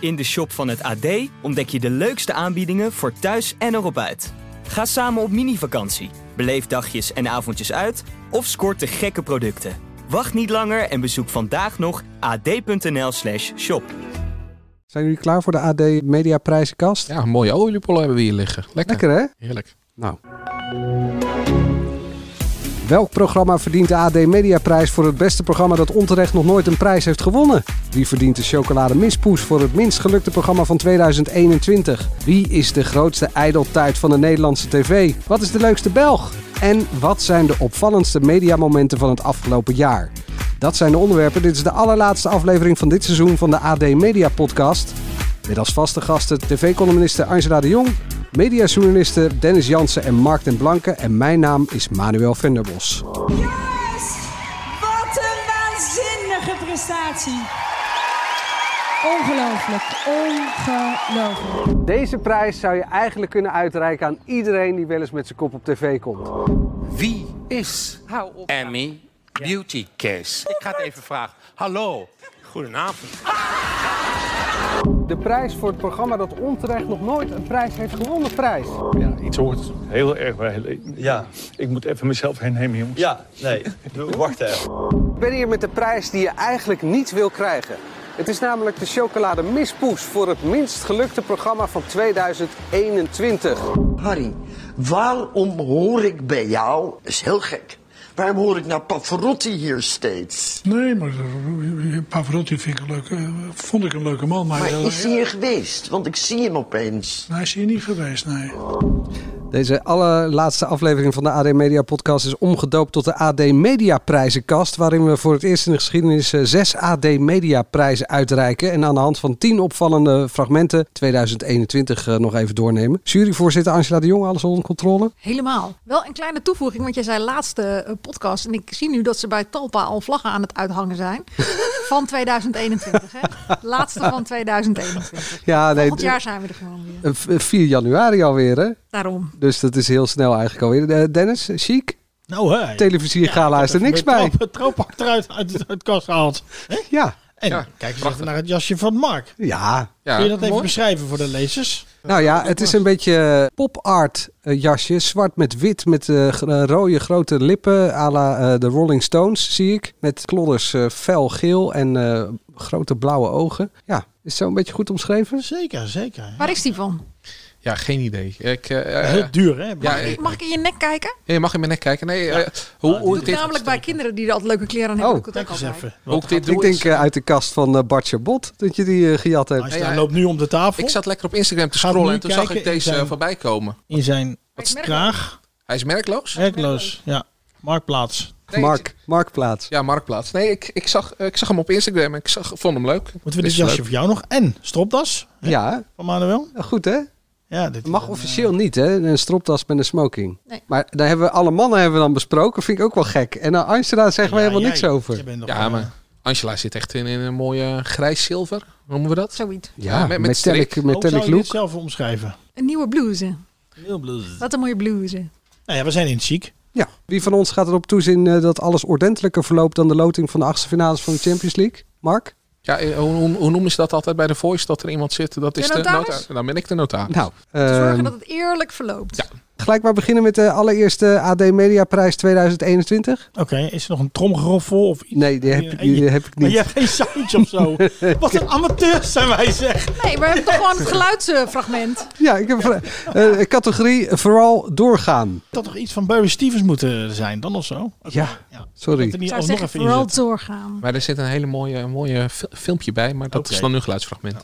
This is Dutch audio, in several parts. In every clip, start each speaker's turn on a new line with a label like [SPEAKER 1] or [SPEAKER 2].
[SPEAKER 1] In de shop van het AD ontdek je de leukste aanbiedingen voor thuis en erop uit. Ga samen op mini-vakantie, beleef dagjes en avondjes uit of scoort de gekke producten. Wacht niet langer en bezoek vandaag nog ad.nl/slash shop.
[SPEAKER 2] Zijn jullie klaar voor de AD Media Prijzenkast?
[SPEAKER 3] Ja, een mooie oliepollen hebben we hier liggen. Lekker.
[SPEAKER 2] Lekker hè?
[SPEAKER 3] Heerlijk.
[SPEAKER 2] Nou. Welk programma verdient de AD Mediaprijs voor het beste programma dat onterecht nog nooit een prijs heeft gewonnen? Wie verdient de chocolade mispoes voor het minst gelukte programma van 2021? Wie is de grootste ijdeltuit van de Nederlandse tv? Wat is de leukste Belg? En wat zijn de opvallendste mediamomenten van het afgelopen jaar? Dat zijn de onderwerpen. Dit is de allerlaatste aflevering van dit seizoen van de AD Media Podcast. Met als vaste gasten tv-columniste Angela de Jong, mediajournalisten Dennis Jansen en Mark den Blanke. En mijn naam is Manuel Venderbos.
[SPEAKER 4] Jongens, wat een waanzinnige prestatie. Ongelooflijk, ongelooflijk.
[SPEAKER 2] Deze prijs zou je eigenlijk kunnen uitreiken aan iedereen die wel eens met zijn kop op tv komt.
[SPEAKER 5] Wie is Emmy Beauty Case? Ik ga het even vragen. Hallo. Goedenavond.
[SPEAKER 2] De prijs voor het programma dat onterecht nog nooit een prijs heeft gewonnen prijs.
[SPEAKER 6] Ja, iets hoort heel erg bij.
[SPEAKER 7] Ja,
[SPEAKER 6] Ik moet even mezelf hernemen, jongens.
[SPEAKER 7] ja, nee. Wacht even.
[SPEAKER 2] Ik ben hier met de prijs die je eigenlijk niet wil krijgen. Het is namelijk de chocolade mispoes voor het minst gelukte programma van 2021.
[SPEAKER 8] Harry, waarom hoor ik bij jou? Dat is heel gek. Waarom hoor ik nou Pavarotti hier steeds?
[SPEAKER 9] Nee, maar eh, Pavarotti vind ik een leuke, eh, vond ik een leuke man. Maar,
[SPEAKER 8] Maar
[SPEAKER 9] eh,
[SPEAKER 8] is hij hier geweest? Want ik zie hem opeens.
[SPEAKER 9] hij is hier niet geweest, nee.
[SPEAKER 2] Deze allerlaatste aflevering van de AD Media Podcast is omgedoopt tot de AD Media Prijzenkast. Waarin we voor het eerst in de geschiedenis eh, zes AD Media Prijzen uitreiken. En aan de hand van tien opvallende fragmenten 2021 eh, nog even doornemen. Juryvoorzitter Angela de Jong, alles onder controle.
[SPEAKER 10] Helemaal. Wel een kleine toevoeging, want jij zei laatste eh, podcast. En ik zie nu dat ze bij Talpa al vlaggen aan het uithangen zijn. van 2021, hè? Laatste van 2021.
[SPEAKER 2] Ja, nee.
[SPEAKER 10] Volgend jaar zijn we er gewoon weer.
[SPEAKER 2] eh, v- 4 januari alweer, hè?
[SPEAKER 10] Daarom.
[SPEAKER 2] Dus dat is heel snel eigenlijk alweer. Eh, Dennis, eh, chic?
[SPEAKER 11] Nou, hè.
[SPEAKER 2] Televisiegala is er niks bij.
[SPEAKER 11] Het trouwpak eruit uit het- uit het kast gehaald. Hè?
[SPEAKER 2] Ja.
[SPEAKER 11] En
[SPEAKER 3] Ja,
[SPEAKER 11] kijk eens
[SPEAKER 3] prachtig.
[SPEAKER 11] even naar het jasje van Mark.
[SPEAKER 2] Ja.
[SPEAKER 3] Ja,
[SPEAKER 11] Kun je dat even
[SPEAKER 3] mooi.
[SPEAKER 11] beschrijven voor de lezers?
[SPEAKER 2] Nou ja, het is een beetje eh, pop art eh, jasje. Zwart met wit, met eh, gr- eh, rode grote lippen. à la eh, de Rolling Stones, zie ik. Met klodders eh, fel geel en eh, grote blauwe ogen. Ja, is zo een beetje goed omschreven?
[SPEAKER 11] Zeker, zeker.
[SPEAKER 10] Waar is die van?
[SPEAKER 3] Ja, geen idee. Ik, eh, eh,
[SPEAKER 11] Heel duur, hè? Maar
[SPEAKER 3] ja,
[SPEAKER 10] Ik-
[SPEAKER 3] eh,
[SPEAKER 10] Mag ik in je nek kijken?
[SPEAKER 3] je mag in mijn nek kijken. Nee, eh, hoe, hoe, ik
[SPEAKER 10] Doe ik
[SPEAKER 3] dit,
[SPEAKER 10] namelijk bij kinderen die er altijd leuke kleren aan hebben.
[SPEAKER 2] Oh,
[SPEAKER 10] doe ik het
[SPEAKER 11] kijk
[SPEAKER 10] ook
[SPEAKER 11] eens
[SPEAKER 10] altijd.
[SPEAKER 11] even.
[SPEAKER 3] hoe ik dit doe
[SPEAKER 2] Ik denk
[SPEAKER 3] is-
[SPEAKER 2] eh, uit de kast van eh, Bart Chabot dat je die eh, gejat hebt.
[SPEAKER 11] Hij
[SPEAKER 3] Ja, ja.
[SPEAKER 11] staat, loopt nu om de tafel.
[SPEAKER 3] ik zat lekker op Instagram te
[SPEAKER 11] Gaat nu
[SPEAKER 3] scrollen en toen zag
[SPEAKER 11] kijken
[SPEAKER 3] ik deze
[SPEAKER 11] in zijn-
[SPEAKER 3] voorbij komen.
[SPEAKER 11] in zijn
[SPEAKER 10] Hij is merkloos.
[SPEAKER 11] kraag.
[SPEAKER 3] Hij is merkloos.
[SPEAKER 11] Werkloos. Ja. Marktplaats.
[SPEAKER 3] Nee,
[SPEAKER 2] Mark, Marktplaats.
[SPEAKER 3] Ja, Marktplaats. Nee, ik, ik, zag, eh, ik zag hem op Instagram en ik zag, vond hem leuk.
[SPEAKER 11] Moeten we dit
[SPEAKER 3] Is
[SPEAKER 11] jasje
[SPEAKER 3] leuk.
[SPEAKER 11] voor jou nog? En stropdas
[SPEAKER 2] Ja,
[SPEAKER 11] van Manuel?
[SPEAKER 2] nou goed hè?
[SPEAKER 11] Ja, dit eh,
[SPEAKER 2] Mag officieel niet hè? Een stropdas met een smoking.
[SPEAKER 10] Nee.
[SPEAKER 2] Maar daar hebben we, alle mannen hebben we dan besproken. Vind ik ook wel gek. En nou, Angela zeggen we
[SPEAKER 11] Ja,
[SPEAKER 2] helemaal
[SPEAKER 11] Ah, jij-
[SPEAKER 2] niks over.
[SPEAKER 11] jij bent nog eh,
[SPEAKER 3] Ja,
[SPEAKER 11] een-
[SPEAKER 3] maar Angela zit echt in, in een mooie grijs zilver. Noemen we dat?
[SPEAKER 10] Zoiets.
[SPEAKER 2] Ja,
[SPEAKER 3] Ja,
[SPEAKER 2] met,
[SPEAKER 3] met- met
[SPEAKER 2] metallic,
[SPEAKER 3] strik.
[SPEAKER 11] Hoe Oh, zou
[SPEAKER 2] metallic
[SPEAKER 11] je dit
[SPEAKER 2] look.
[SPEAKER 11] zelf omschrijven?
[SPEAKER 10] Een nieuwe blouse.
[SPEAKER 11] Heel bloed.
[SPEAKER 10] Wat een mooie blouse.
[SPEAKER 11] Nou ja, we zijn in het ziek.
[SPEAKER 2] Ja. Wie van ons gaat erop toezien eh, dat alles ordentelijker verloopt dan de loting van de achtste finales van de Champions League? Mark?
[SPEAKER 3] Ja, eh, hoe, hoe, hoe noemen ze dat altijd bij de Voice? Dat er iemand zit, dat is de
[SPEAKER 10] notaris?
[SPEAKER 3] nota- Dan ben ik de notaris.
[SPEAKER 2] Nou,
[SPEAKER 10] Zorgen
[SPEAKER 2] ehm,
[SPEAKER 10] dat het eerlijk verloopt.
[SPEAKER 2] gelijk maar beginnen met de allereerste AD Mediaprijs 2021.
[SPEAKER 11] Oké, is er nog een tromgeroffel of iets?
[SPEAKER 2] Nee, die heb,
[SPEAKER 11] Ja,
[SPEAKER 2] die
[SPEAKER 11] je-
[SPEAKER 2] heb ik
[SPEAKER 11] Maar je
[SPEAKER 2] niet.
[SPEAKER 11] hebt geen soundje of zo. Wat een amateurs zijn wij zeg.
[SPEAKER 10] Nee, maar we hebben toch gewoon het geluidsfragment.
[SPEAKER 2] Ja, ik heb eh, eh, categorie vooral doorgaan.
[SPEAKER 11] Dat toch iets van Barry Stevens moeten zijn dan of zo?
[SPEAKER 2] Ja,
[SPEAKER 11] Ja. Dat er
[SPEAKER 2] sorry.
[SPEAKER 10] Ik
[SPEAKER 11] niet
[SPEAKER 10] zou
[SPEAKER 11] alsnog
[SPEAKER 10] zeggen,
[SPEAKER 11] even
[SPEAKER 10] vooral
[SPEAKER 11] in
[SPEAKER 10] het doorgaan.
[SPEAKER 3] Maar er zit een hele mooie, mooie fil- filmpje bij, maar dat
[SPEAKER 11] Oké.
[SPEAKER 3] is dan nu een geluidsfragment.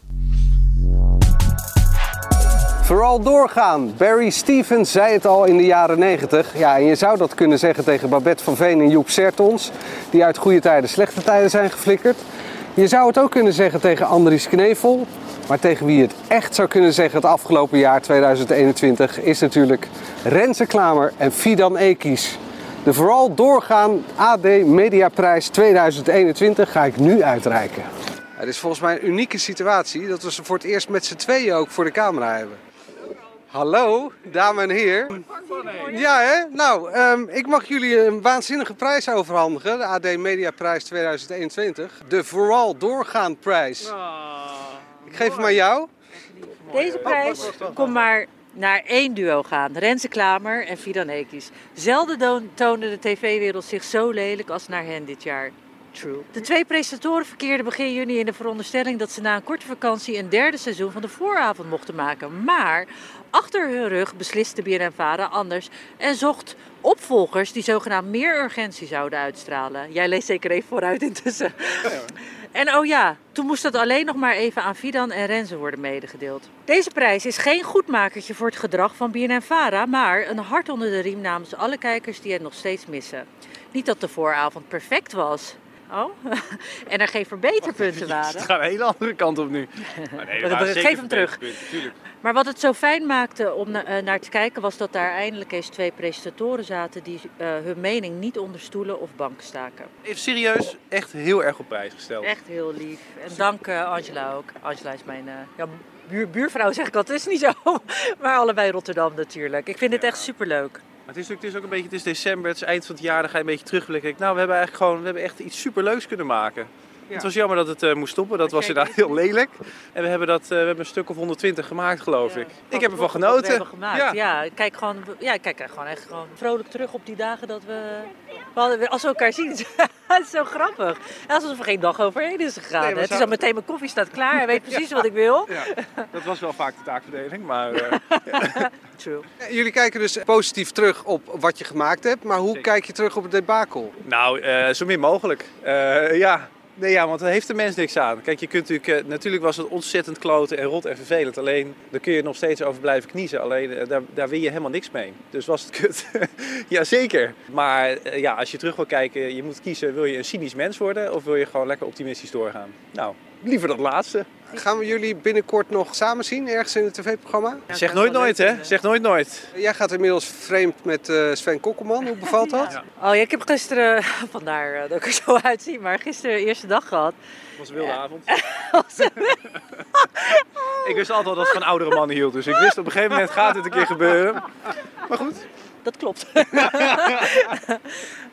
[SPEAKER 2] Vooral doorgaan. Barry Stevens zei het al in de jaren 90. Ja, en je zou dat kunnen zeggen tegen Babette van Veen en Joep Sertons, die uit goede tijden slechte tijden zijn geflikkerd. Je zou het ook kunnen zeggen tegen Andries Knevel. Maar tegen wie je het echt zou kunnen zeggen het afgelopen jaar 2021 is natuurlijk Renze Klamer en Fidan Ekies. De vooral doorgaan AD Mediaprijs 2021 ga ik nu uitreiken. Het is volgens mij een unieke situatie dat we ze voor het eerst met z'n tweeën ook voor de camera hebben. Hallo, dames en heren. Ja, hè? Nou, ehm, ik mag jullie een waanzinnige prijs overhandigen. De AD Mediaprijs 2021. De Vooral Doorgaan Prijs. Ik geef hem aan jou.
[SPEAKER 12] Deze prijs kon maar naar één duo gaan. Renze Klamer en Fidan Ekis. Zelden don- toonde de tv-wereld zich zo lelijk als naar hen dit jaar. True. De twee presentatoren verkeerden begin juni in de veronderstelling dat ze na een korte vakantie een derde seizoen van de vooravond mochten maken. Maar achter hun rug besliste BNNVARA anders en zocht opvolgers die zogenaamd meer urgentie zouden uitstralen. Jij leest zeker even vooruit intussen. En oh ja, toen moest dat alleen nog maar even aan Fidan en Renze worden medegedeeld. Deze prijs is geen goedmakertje voor het gedrag van BNNVARA, maar een hart onder de riem namens alle kijkers die het nog steeds missen. Niet dat de vooravond perfect was. Oh, en er geen verbeterpunten waren.
[SPEAKER 13] Het gaat een hele andere kant op nu. Maar nee, er
[SPEAKER 12] Geef
[SPEAKER 13] waren
[SPEAKER 12] hem
[SPEAKER 13] zeker
[SPEAKER 12] terug.
[SPEAKER 13] verbeterpunten, tuurlijk.
[SPEAKER 12] Maar wat het zo fijn maakte om na- eh, naar te kijken was dat daar eindelijk eens twee presentatoren zaten die eh, hun mening niet onder stoelen of banken staken.
[SPEAKER 13] Even serieus, echt heel erg op prijs gesteld.
[SPEAKER 12] Echt heel lief. En dank eh, Angela ook. Angela is mijn eh, ja, buur- buurvrouw, zeg ik al. Het is niet zo. Maar allebei Rotterdam natuurlijk. Ik vind het echt superleuk.
[SPEAKER 13] Maar het is, natuurlijk, het is ook een beetje, het is december, het is eind van het jaar, dan ga je een beetje terugblikken. Denk, Nou, we hebben eigenlijk gewoon, we hebben echt iets superleuks kunnen maken.
[SPEAKER 12] Ja.
[SPEAKER 13] Het was jammer dat het eh, moest stoppen, dat was inderdaad heel lelijk. En we hebben, dat, eh, we hebben een stuk of 120 gemaakt, geloof ik. Ik heb ervan
[SPEAKER 12] Wat we
[SPEAKER 13] genoten.
[SPEAKER 12] hebben gemaakt. Ja. ik kijk gewoon, ja, ik kijk er gewoon echt gewoon vrolijk terug op die dagen dat we... we hadden- Als we elkaar zien, het is zo grappig. En alsof er geen dag overheen is gegaan.
[SPEAKER 13] Nee,
[SPEAKER 12] het
[SPEAKER 13] maar
[SPEAKER 12] is
[SPEAKER 13] zou-
[SPEAKER 12] al meteen, mijn koffie staat klaar, hij weet precies
[SPEAKER 13] Ja.
[SPEAKER 12] wat ik wil.
[SPEAKER 13] Ja. Dat was wel vaak de taakverdeling, maar... eh,
[SPEAKER 12] True.
[SPEAKER 2] Jullie kijken dus positief terug op wat je gemaakt hebt, maar hoe kijk je terug op het debakel?
[SPEAKER 13] Nou, eh, zo min mogelijk. Eh, ja. Nee, ja, want daar heeft de mens niks aan. Kijk, je kunt natuurlijk, eh, natuurlijk was het ontzettend kloten en rot en vervelend. Alleen, daar kun je nog steeds over blijven kniezen. Alleen, eh, daar, daar win je helemaal niks mee. Dus was het kut. Jazeker. Maar eh, ja, als je terug wil kijken, je moet kiezen. Wil je een cynisch mens worden of wil je gewoon lekker optimistisch doorgaan? Nou, liever dat laatste.
[SPEAKER 2] Gaan we jullie binnenkort nog samen zien, ergens in het tv-programma?
[SPEAKER 13] zeg nooit nooit, hè?
[SPEAKER 3] eh,
[SPEAKER 13] Zeg nooit nooit.
[SPEAKER 2] Jij gaat inmiddels vreemd met eh, Sven Kokkelman. Hoe bevalt dat?
[SPEAKER 12] Oh ja, ik heb gisteren, vandaar eh, dat ik er zo uitzie, maar gisteren de eerste dag gehad.
[SPEAKER 13] was een wilde avond. ik wist altijd al dat het van oudere mannen hield. Dus ik wist op een gegeven moment gaat het een keer gebeuren. Maar goed.
[SPEAKER 12] Dat klopt.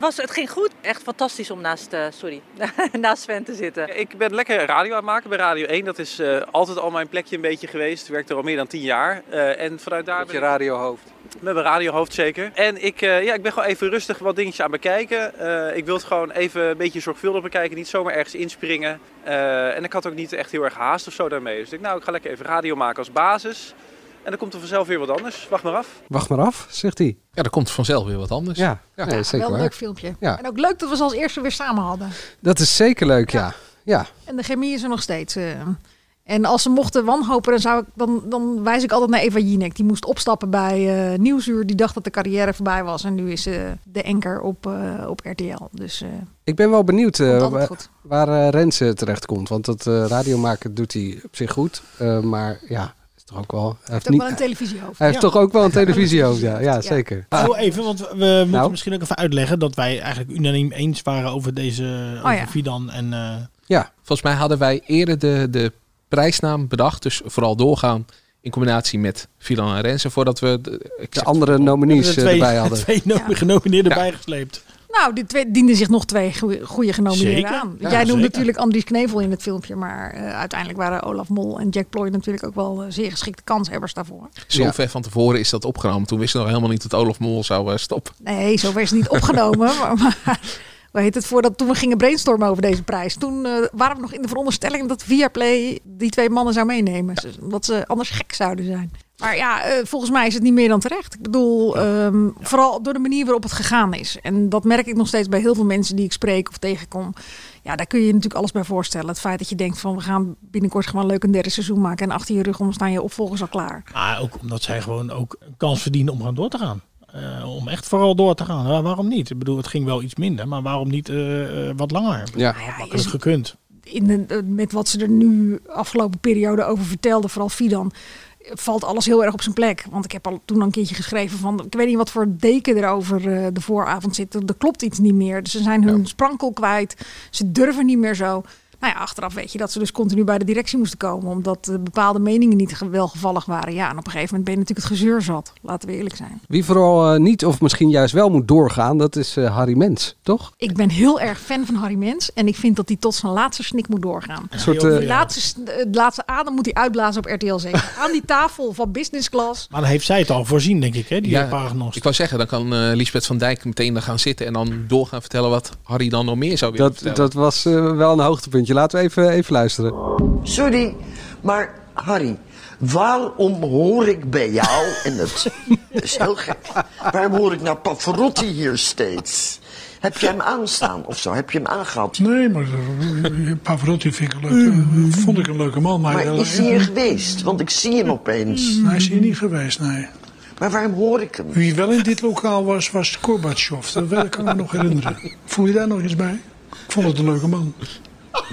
[SPEAKER 12] Was, het ging goed. Echt fantastisch om naast, eh, sorry, naast Sven te zitten.
[SPEAKER 13] Ik ben lekker radio aan het maken bij Radio 1. Dat is eh, altijd al mijn plekje een beetje geweest. Ik werk er al meer dan 10 jaar. Eh, en vanuit daar. Met
[SPEAKER 2] je radiohoofd.
[SPEAKER 13] Met mijn radiohoofd zeker. En ik, eh, ja, ik ben gewoon even rustig wat dingetjes aan bekijken. Eh, ik wil het gewoon even een beetje zorgvuldig bekijken. Niet zomaar ergens inspringen. Eh, en ik had ook niet echt heel erg haast of zo daarmee. Dus ik dacht, nou, ik ga lekker even radio maken als basis. En dan komt er vanzelf weer wat anders. Wacht maar af.
[SPEAKER 2] Wacht maar af, zegt hij.
[SPEAKER 3] Ja, er komt vanzelf weer wat anders.
[SPEAKER 2] Ja,
[SPEAKER 3] ja.
[SPEAKER 2] nee, zeker
[SPEAKER 10] Wel een
[SPEAKER 2] waar.
[SPEAKER 10] leuk filmpje.
[SPEAKER 2] Ja.
[SPEAKER 10] En ook leuk dat we ze als eerste weer samen hadden.
[SPEAKER 2] Dat is zeker leuk, ja. ja.
[SPEAKER 10] En de chemie is er nog steeds. eh. En als ze mochten wanhopen, dan, zou ik, dan, dan wijs ik altijd naar Eva Jinek. Die moest opstappen bij eh, Nieuwsuur. Die dacht dat de carrière voorbij was. En nu is ze de enker op, eh, op RTL. Dus eh,
[SPEAKER 2] Ik ben wel benieuwd eh,
[SPEAKER 10] altijd
[SPEAKER 2] wa-
[SPEAKER 10] goed.
[SPEAKER 2] waar eh Renze terechtkomt. Want dat eh, radiomaken doet hij op zich goed. Eh, maar ja, is toch ook wel... Hij heeft,
[SPEAKER 10] ook wel een televisiehoofd.
[SPEAKER 2] Hij heeft
[SPEAKER 10] Ja.
[SPEAKER 2] toch ook wel een
[SPEAKER 10] Hij heeft
[SPEAKER 2] televisiehoofd, ja. Ja, zeker. Ah,
[SPEAKER 11] Oh, even, want we moeten
[SPEAKER 2] Nou.
[SPEAKER 11] misschien ook even uitleggen dat wij eigenlijk unaniem eens waren over deze over
[SPEAKER 10] ja.
[SPEAKER 11] Fidan en eh,
[SPEAKER 3] Ja, volgens mij hadden wij eerder de, de prijsnaam bedacht. Dus vooral doorgaan in combinatie met Filan en Rensen. Voordat we de,
[SPEAKER 2] andere nominees eh,
[SPEAKER 11] de twee, twee no- genomineerden bijgesleept.
[SPEAKER 10] Nou, die twee, dienden zich nog twee goede genomineerden
[SPEAKER 11] Zeker.
[SPEAKER 10] aan. Jij
[SPEAKER 11] Ja,
[SPEAKER 10] noemde
[SPEAKER 11] zeker.
[SPEAKER 10] natuurlijk Andries Knevel in het filmpje. Maar eh, uiteindelijk waren Olaf Mol en Jack Ploy natuurlijk ook wel eh, zeer geschikte kanshebbers daarvoor.
[SPEAKER 3] Zo ver van tevoren is dat opgenomen. Toen wisten we nog helemaal niet dat Olaf Mol zou eh, stoppen.
[SPEAKER 10] Nee, zo werd het niet opgenomen. maar, maar hoe heet het? Voordat toen we gingen brainstormen over deze prijs. Toen eh, waren we nog in de veronderstelling dat Viaplay die twee mannen zou meenemen. Dus, Omdat ze anders gek zouden zijn. Maar ja, eh, volgens mij is het niet meer dan terecht. Ik bedoel, ehm, vooral door de manier waarop het gegaan is. En dat merk ik nog steeds bij heel veel mensen die ik spreek of tegenkom. Ja, daar kun je je natuurlijk alles bij voorstellen. Het feit dat je denkt van we gaan binnenkort gewoon leuk een derde seizoen maken. En achter je rug om staan je opvolgers al klaar.
[SPEAKER 11] Maar ook omdat zij gewoon ook een kans verdienen om gewoon door te gaan. Eh, om echt vooral door te gaan. Waar- waarom niet? Ik bedoel, het ging wel iets minder, maar waarom niet eh, eh, wat langer?
[SPEAKER 2] Ja.
[SPEAKER 11] Had makkelijk gekund.
[SPEAKER 10] in de, eh, met wat ze er nu afgelopen periode over vertelde, vooral Fidan, eh, valt alles heel erg op zijn plek. Want ik heb al toen al een keertje geschreven van, ik weet niet wat voor deken er over eh, de vooravond zit. Er er klopt iets niet meer. Dus ze zijn hun sprankel kwijt. Ze durven niet meer zo. Nou ja, achteraf weet je dat ze dus continu bij de directie moesten komen. Omdat eh, bepaalde meningen niet ge- welgevallig waren. Ja, en op een gegeven moment ben je natuurlijk het gezeur zat. Laten we eerlijk zijn.
[SPEAKER 2] Wie vooral eh, niet of misschien juist wel moet doorgaan, dat is eh, Harry Mens, toch?
[SPEAKER 10] Ik ben heel erg fan van Harry Mens. En ik vind dat hij tot zijn laatste snik moet doorgaan.
[SPEAKER 2] Een soort, eh,
[SPEAKER 10] de, laatste, s- de laatste adem moet hij uitblazen op RTL 7. Aan die tafel van business class.
[SPEAKER 11] Maar dan heeft zij het al voorzien, denk ik, hè, die paragnost.
[SPEAKER 3] Ik wou zeggen, dan kan eh Lisbeth van Dijk meteen daar gaan zitten en dan door gaan vertellen wat Harry dan nog meer zou willen
[SPEAKER 2] Dat,
[SPEAKER 3] vertellen.
[SPEAKER 2] dat was eh, wel een hoogtepuntje. Laten we even, even luisteren.
[SPEAKER 14] Sorry, maar Harry, waarom hoor ik bij jou, en dat is heel gek, waarom hoor ik nou Pavarotti hier steeds? Heb jij hem aanstaan of zo? Heb je hem aangehad?
[SPEAKER 15] Nee, maar eh, Pavarotti vind ik een leuke, eh, vond ik een leuke man. Maar,
[SPEAKER 14] Mhm. Maar
[SPEAKER 15] eh,
[SPEAKER 14] is hij hier geweest? Want ik zie hem opeens.
[SPEAKER 15] Hij is hier niet geweest, nee.
[SPEAKER 14] Maar waarom hoor ik hem?
[SPEAKER 15] Wie wel in dit lokaal was, was Gorbatsjov. Dat wel- kan ik me nog herinneren. Voel je daar nog eens bij? Ik vond het een leuke man.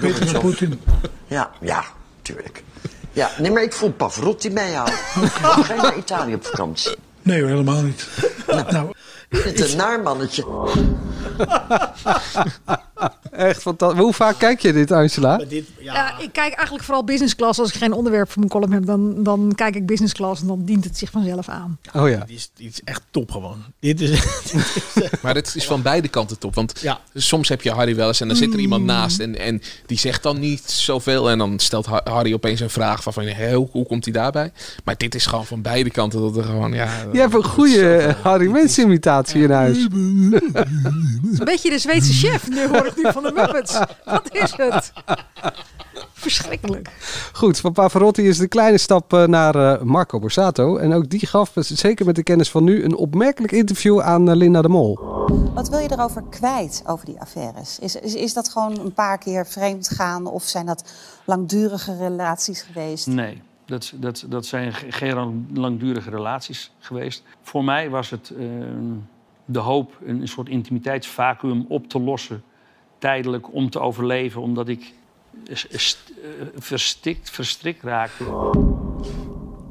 [SPEAKER 15] Beter dan
[SPEAKER 14] Gorbatsjov.
[SPEAKER 15] Poetin.
[SPEAKER 14] Ja, ja, tuurlijk. Ja, nee, maar ik voel Pavarotti bij jou. Ga je naar Italië op vakantie?
[SPEAKER 15] Nee, hoor, helemaal niet. Nou,
[SPEAKER 14] Je bent een naar mannetje.
[SPEAKER 2] Echt fantastisch. Hoe vaak kijk je dit, Angela?
[SPEAKER 10] Ja. Eh, ik kijk eigenlijk vooral business class. Als ik geen onderwerp voor mijn column heb, dan, dan kijk ik business class. En dan dient het zich vanzelf aan.
[SPEAKER 2] Oh ja.
[SPEAKER 11] Die is, die is echt top gewoon. Dit is...
[SPEAKER 3] Maar het is van beide kanten top. Want soms heb je Harry wel eens en dan zit er
[SPEAKER 11] Mm.
[SPEAKER 3] iemand naast en, en die zegt dan niet zoveel. En dan stelt Ha- Harry opeens een vraag van, van hé, hoe, hoe komt hij daarbij? Maar dit is gewoon van beide kanten dat er gewoon, ja...
[SPEAKER 2] Je hebt een goede eh, Harry Mens imitatie in huis.
[SPEAKER 10] Het is een beetje de Zweedse chef. Nu hoor ik nu van de Muppets. Wat is het? Verschrikkelijk.
[SPEAKER 2] Goed, van Pavarotti is de kleine stap eh, naar eh, Marco Borsato. En ook die gaf, zeker met de kennis van nu, een opmerkelijk interview aan eh, Linda de Mol.
[SPEAKER 16] Wat wil je erover kwijt over die affaires? Is, is, is dat gewoon een paar keer vreemd gaan of zijn dat langdurige relaties geweest?
[SPEAKER 17] Nee, dat, dat, dat zijn ge- geen lang- langdurige relaties geweest. Voor mij was het ehm, de hoop een, een soort intimiteitsvacuüm op te lossen. Tijdelijk om te overleven, omdat ik eh, st- eh, verstikt, verstrikt raakte.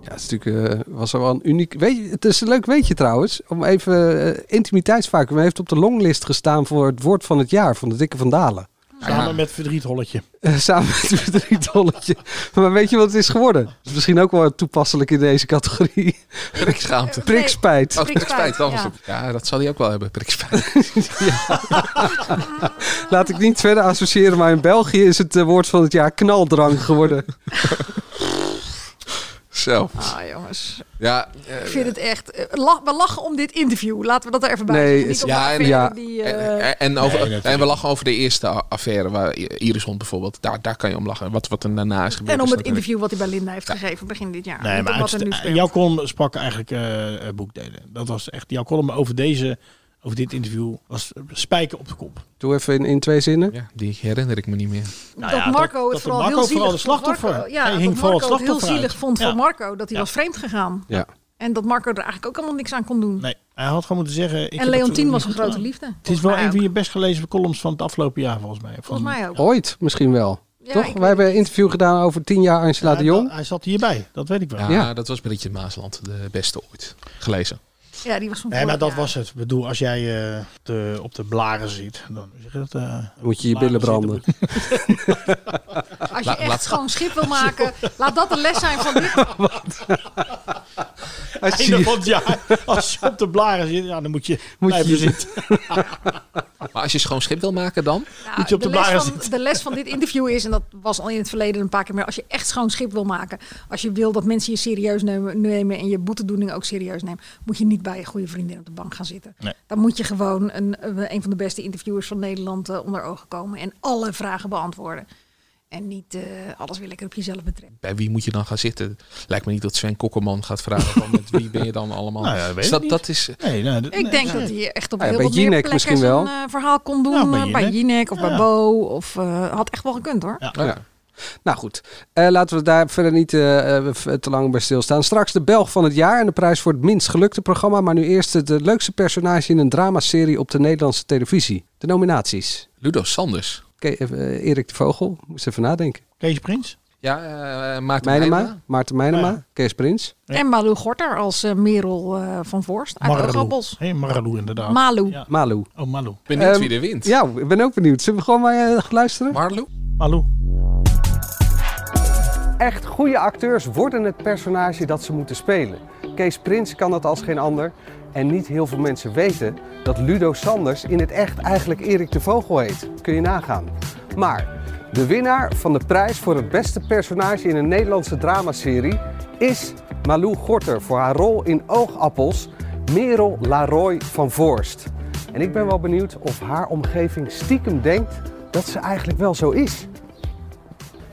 [SPEAKER 2] Ja, het is natuurlijk, eh, was wel een uniek... Weet je, het is een leuk weetje trouwens. Om even eh, intimiteitsvacuüm heeft op de longlist gestaan voor het woord van het jaar van de Dikke Van Dalen.
[SPEAKER 11] Samen met Verdrietholletje.
[SPEAKER 2] Eh, Samen met het verdrietolletje. Maar weet je wat het is geworden? Dat is misschien ook wel toepasselijk in deze categorie.
[SPEAKER 3] Prikschaamte.
[SPEAKER 2] Prikspijt.
[SPEAKER 3] Oh, prikspijt, dat was
[SPEAKER 2] ja.
[SPEAKER 3] het. Ja, dat zal hij ook wel hebben, prikspijt.
[SPEAKER 2] Laat ik niet verder associëren, maar in België is het eh, woord van het jaar knaldrang geworden.
[SPEAKER 3] Zo.
[SPEAKER 10] Ah, jongens.
[SPEAKER 3] Ja,
[SPEAKER 10] Ik vind het echt... eh, lach- we lachen om dit interview. Laten we dat er even bij
[SPEAKER 3] Nee,
[SPEAKER 10] zeggen. Niet
[SPEAKER 3] het-
[SPEAKER 10] om
[SPEAKER 3] ja,
[SPEAKER 10] de
[SPEAKER 3] en-
[SPEAKER 10] affaire
[SPEAKER 3] ja.
[SPEAKER 10] die, eh,
[SPEAKER 3] En, en, over-
[SPEAKER 11] Nee, natuurlijk.
[SPEAKER 3] en we lachen over de eerste a- affaire, waar I- Iris Hond bijvoorbeeld. Daar, daar kan je om lachen. Wat, wat er daarna is gebeurd.
[SPEAKER 10] en om
[SPEAKER 3] is
[SPEAKER 10] het
[SPEAKER 3] natuurlijk-
[SPEAKER 10] interview wat hij bij Linda heeft gegeven begin dit jaar.
[SPEAKER 11] Nee,
[SPEAKER 10] Niet
[SPEAKER 11] maar
[SPEAKER 10] om wat er
[SPEAKER 11] uitste-
[SPEAKER 10] nu
[SPEAKER 11] eh,
[SPEAKER 10] speelt.
[SPEAKER 11] jouw column sprak eigenlijk eh, eh, boekdelen. Dat was echt, jouw column over deze, over dit interview was eh, spijker op de kop.
[SPEAKER 2] Doe even in, in twee zinnen.
[SPEAKER 3] Die herinner ik me niet meer.
[SPEAKER 10] dat Marco het
[SPEAKER 11] Ah dat
[SPEAKER 10] vooral
[SPEAKER 11] Marco
[SPEAKER 10] heel zielig
[SPEAKER 11] vooral de
[SPEAKER 10] vond.
[SPEAKER 11] slachtoffer.
[SPEAKER 10] Marco, ja,
[SPEAKER 11] Hij
[SPEAKER 10] dat
[SPEAKER 11] hing
[SPEAKER 10] Marco
[SPEAKER 11] vooral het
[SPEAKER 10] het
[SPEAKER 11] slachtoffer
[SPEAKER 10] heel zielig
[SPEAKER 11] uit.
[SPEAKER 10] vond
[SPEAKER 11] Ja.
[SPEAKER 10] van Marco dat hij was vreemd gegaan.
[SPEAKER 2] Ja.
[SPEAKER 10] En dat Marco er eigenlijk ook allemaal niks aan kon doen.
[SPEAKER 11] Nee, hij had gewoon moeten zeggen... ik heb
[SPEAKER 10] en
[SPEAKER 11] het toen
[SPEAKER 10] Leontien was
[SPEAKER 11] niet
[SPEAKER 10] een
[SPEAKER 11] goed
[SPEAKER 10] grote
[SPEAKER 11] gedaan.
[SPEAKER 10] liefde.
[SPEAKER 11] Het is
[SPEAKER 10] Nou
[SPEAKER 11] wel een van je best gelezen columns van het afgelopen jaar, volgens mij. Van-
[SPEAKER 10] Volgens mij ook.
[SPEAKER 2] Ooit misschien wel.
[SPEAKER 10] Ja, ik
[SPEAKER 2] Toch?
[SPEAKER 10] weet
[SPEAKER 2] We hebben een interview gedaan over tien jaar Angela
[SPEAKER 11] Ja,
[SPEAKER 2] de Jong.
[SPEAKER 11] dat- Hij zat hierbij, dat weet ik wel.
[SPEAKER 3] Ja, dat was Brietje Maasland, de beste ooit. Gelezen.
[SPEAKER 10] Ja, die was van
[SPEAKER 11] Nee, maar
[SPEAKER 10] vorig
[SPEAKER 11] dat
[SPEAKER 10] jaar.
[SPEAKER 11] was het. Ik bedoel, als jij eh, de- op de blaren zit, dan hoe zeg je dat, eh,
[SPEAKER 2] Moet je je
[SPEAKER 11] blaren
[SPEAKER 2] billen branden.
[SPEAKER 11] zitten.
[SPEAKER 10] Als je
[SPEAKER 11] Laat-
[SPEAKER 10] echt
[SPEAKER 11] laat-
[SPEAKER 10] gewoon schip wil maken, laat dat de les zijn van dit.
[SPEAKER 2] Als je-
[SPEAKER 11] Einde van het jaar, als je op de blaren zit, ja, dan moet je moet blijven zitten.
[SPEAKER 3] Maar als je schoon schip wil maken dan?
[SPEAKER 10] Nou, de, les van, de les van dit interview is, en dat was al in het verleden een paar keer meer, als je echt schoon schip wil maken, als je wil dat mensen je serieus nemen, nemen en je boetedoening ook serieus nemen, moet je niet bij je goede vriendin op de bank gaan zitten.
[SPEAKER 11] Nee.
[SPEAKER 10] Dan moet je gewoon een, eh, een van de beste interviewers van Nederland eh, onder ogen komen en alle vragen beantwoorden. En niet eh, alles wil ik op jezelf betrekken.
[SPEAKER 3] Bij wie moet je dan gaan zitten? Lijkt me niet dat Sven Kokkerman gaat vragen van met wie ben je dan allemaal.
[SPEAKER 11] Nou ja, dat weet
[SPEAKER 3] Dus
[SPEAKER 11] ik
[SPEAKER 3] dat,
[SPEAKER 11] niet.
[SPEAKER 3] dat is...
[SPEAKER 11] Nee, nou, dat-
[SPEAKER 10] Ik denk
[SPEAKER 11] nee.
[SPEAKER 10] dat hij echt op
[SPEAKER 3] Ja,
[SPEAKER 10] heel
[SPEAKER 3] bij
[SPEAKER 10] wat meer
[SPEAKER 3] Jinek
[SPEAKER 10] plekken
[SPEAKER 3] misschien
[SPEAKER 10] zijn
[SPEAKER 3] wel.
[SPEAKER 10] eh, verhaal kon doen.
[SPEAKER 3] Ja, bij
[SPEAKER 10] eh, bij
[SPEAKER 3] Jinek.
[SPEAKER 10] Jinek of bij
[SPEAKER 3] Ja.
[SPEAKER 10] Bo. Of, eh, had echt wel gekund hoor.
[SPEAKER 2] Ja. Nou goed, Eh, laten we daar verder niet eh, eh, v- te lang bij stilstaan. Straks de Belg van het jaar en de prijs voor het minst gelukte programma. Maar nu eerst het eh, leukste personage in een dramaserie op de Nederlandse televisie. De nominaties.
[SPEAKER 3] Ludo Sanders.
[SPEAKER 2] Oké, eh, eh, Erik de Vogel, moest even nadenken.
[SPEAKER 11] Kees Prins?
[SPEAKER 3] Ja, eh, Maarten
[SPEAKER 2] Meijnema,
[SPEAKER 3] Meijnema.
[SPEAKER 2] Maarten Meijnema,
[SPEAKER 3] Ja.
[SPEAKER 2] Kees Prins.
[SPEAKER 10] En Malou Gorter als eh, Merel eh, van Voorst uit Oogappels.
[SPEAKER 11] Hé, Maralou inderdaad.
[SPEAKER 10] Malou.
[SPEAKER 2] Malou.
[SPEAKER 11] Oh, Malou.
[SPEAKER 3] Benieuwd
[SPEAKER 2] Ehm,
[SPEAKER 3] wie er wint.
[SPEAKER 2] Ja, ik ben ook benieuwd. Zullen we gewoon maar eh, luisteren?
[SPEAKER 3] Marlou?
[SPEAKER 11] Malou.
[SPEAKER 2] Echt goede acteurs worden het personage dat ze moeten spelen. Kees Prins kan dat als geen ander. En niet heel veel mensen weten dat Ludo Sanders in het echt eigenlijk Erik de Vogel heet. Kun je nagaan. Maar de winnaar van de prijs voor het beste personage in een Nederlandse dramaserie is Malou Gorter voor haar rol in Oogappels, Merel Laroy van Voorst. En ik ben wel benieuwd of haar omgeving stiekem denkt dat ze eigenlijk wel zo is.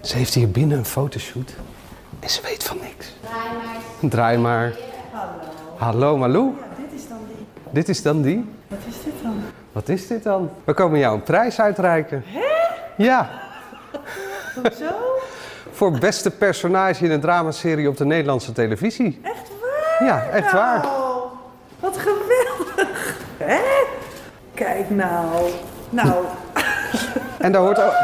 [SPEAKER 2] Ze heeft hier binnen een fotoshoot en ze weet van niks. Draai maar. Hallo Malou.
[SPEAKER 4] Dit is dan die.
[SPEAKER 2] Dit is dan die.
[SPEAKER 4] Wat is dit dan?
[SPEAKER 2] Wat is dit dan? We komen jou een prijs uitreiken. Ja,
[SPEAKER 4] Zo?
[SPEAKER 2] voor beste personage in een dramaserie op de Nederlandse televisie.
[SPEAKER 4] Echt waar?
[SPEAKER 2] Ja, echt waar.
[SPEAKER 4] Nou, Wat geweldig. Hè? Kijk nou. Nou,
[SPEAKER 2] En daar hoort ook,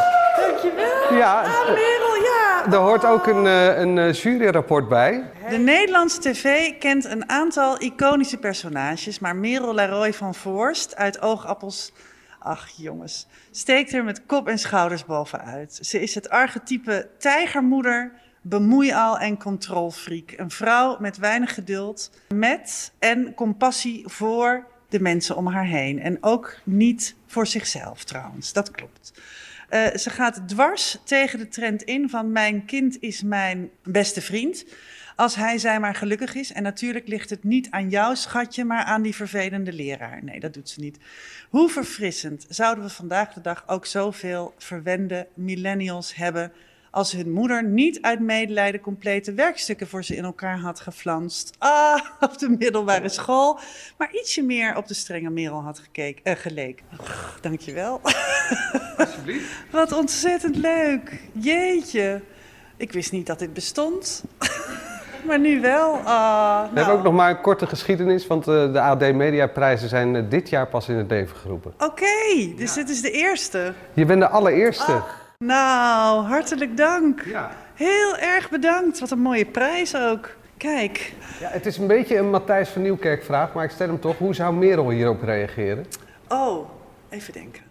[SPEAKER 4] dankjewel.
[SPEAKER 2] Ja.
[SPEAKER 4] Ah, Merel, ja.
[SPEAKER 2] daar hoort ook een, eh, een eh, juryrapport bij.
[SPEAKER 18] De Nederlandse tv kent een aantal iconische personages, maar Merel Laroy van Voorst uit Oogappels, ach jongens, steekt er met kop en schouders bovenuit. Ze is het archetype tijgermoeder, bemoeial en controlfreak. Een vrouw met weinig geduld, met en compassie voor de mensen om haar heen. En ook niet voor zichzelf trouwens, dat klopt. Eh, ze gaat dwars tegen de trend in van mijn kind is mijn beste vriend. Als hij zij maar gelukkig is. En natuurlijk ligt het niet aan jouw schatje, maar aan die vervelende leraar. Nee, dat doet ze niet. Hoe verfrissend zouden we vandaag de dag ook zoveel verwende millennials hebben. als hun moeder niet uit medelijden complete werkstukken voor ze in elkaar had geflanst. Ah, op de middelbare school. maar ietsje meer op de strenge merel had gekeken, eh, geleken. Ach, dankjewel. Wat ontzettend leuk. Jeetje. Ik wist niet dat dit bestond. maar nu wel. Ah,
[SPEAKER 2] We
[SPEAKER 18] nou.
[SPEAKER 2] hebben ook nog maar een korte geschiedenis, want eh, de AD Mediaprijzen zijn eh, dit jaar pas in het leven geroepen.
[SPEAKER 18] Oké, dus dit is de eerste.
[SPEAKER 2] Je bent de allereerste.
[SPEAKER 18] Nou, hartelijk dank. Heel erg bedankt. Wat een mooie prijs ook. Kijk.
[SPEAKER 2] Ja, het is een beetje een Matthijs van Nieuwkerk vraag, maar ik stel hem toch. Hoe zou Merel hierop reageren?
[SPEAKER 18] Oh, even denken.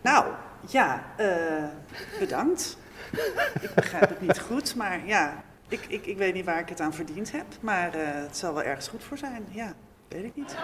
[SPEAKER 18] Nou, ja, eh, bedankt. ik begrijp het niet goed, maar ja, ik, ik, ik weet niet waar ik het aan verdiend heb. Maar eh, het zal wel ergens goed voor zijn. Ja, weet ik niet.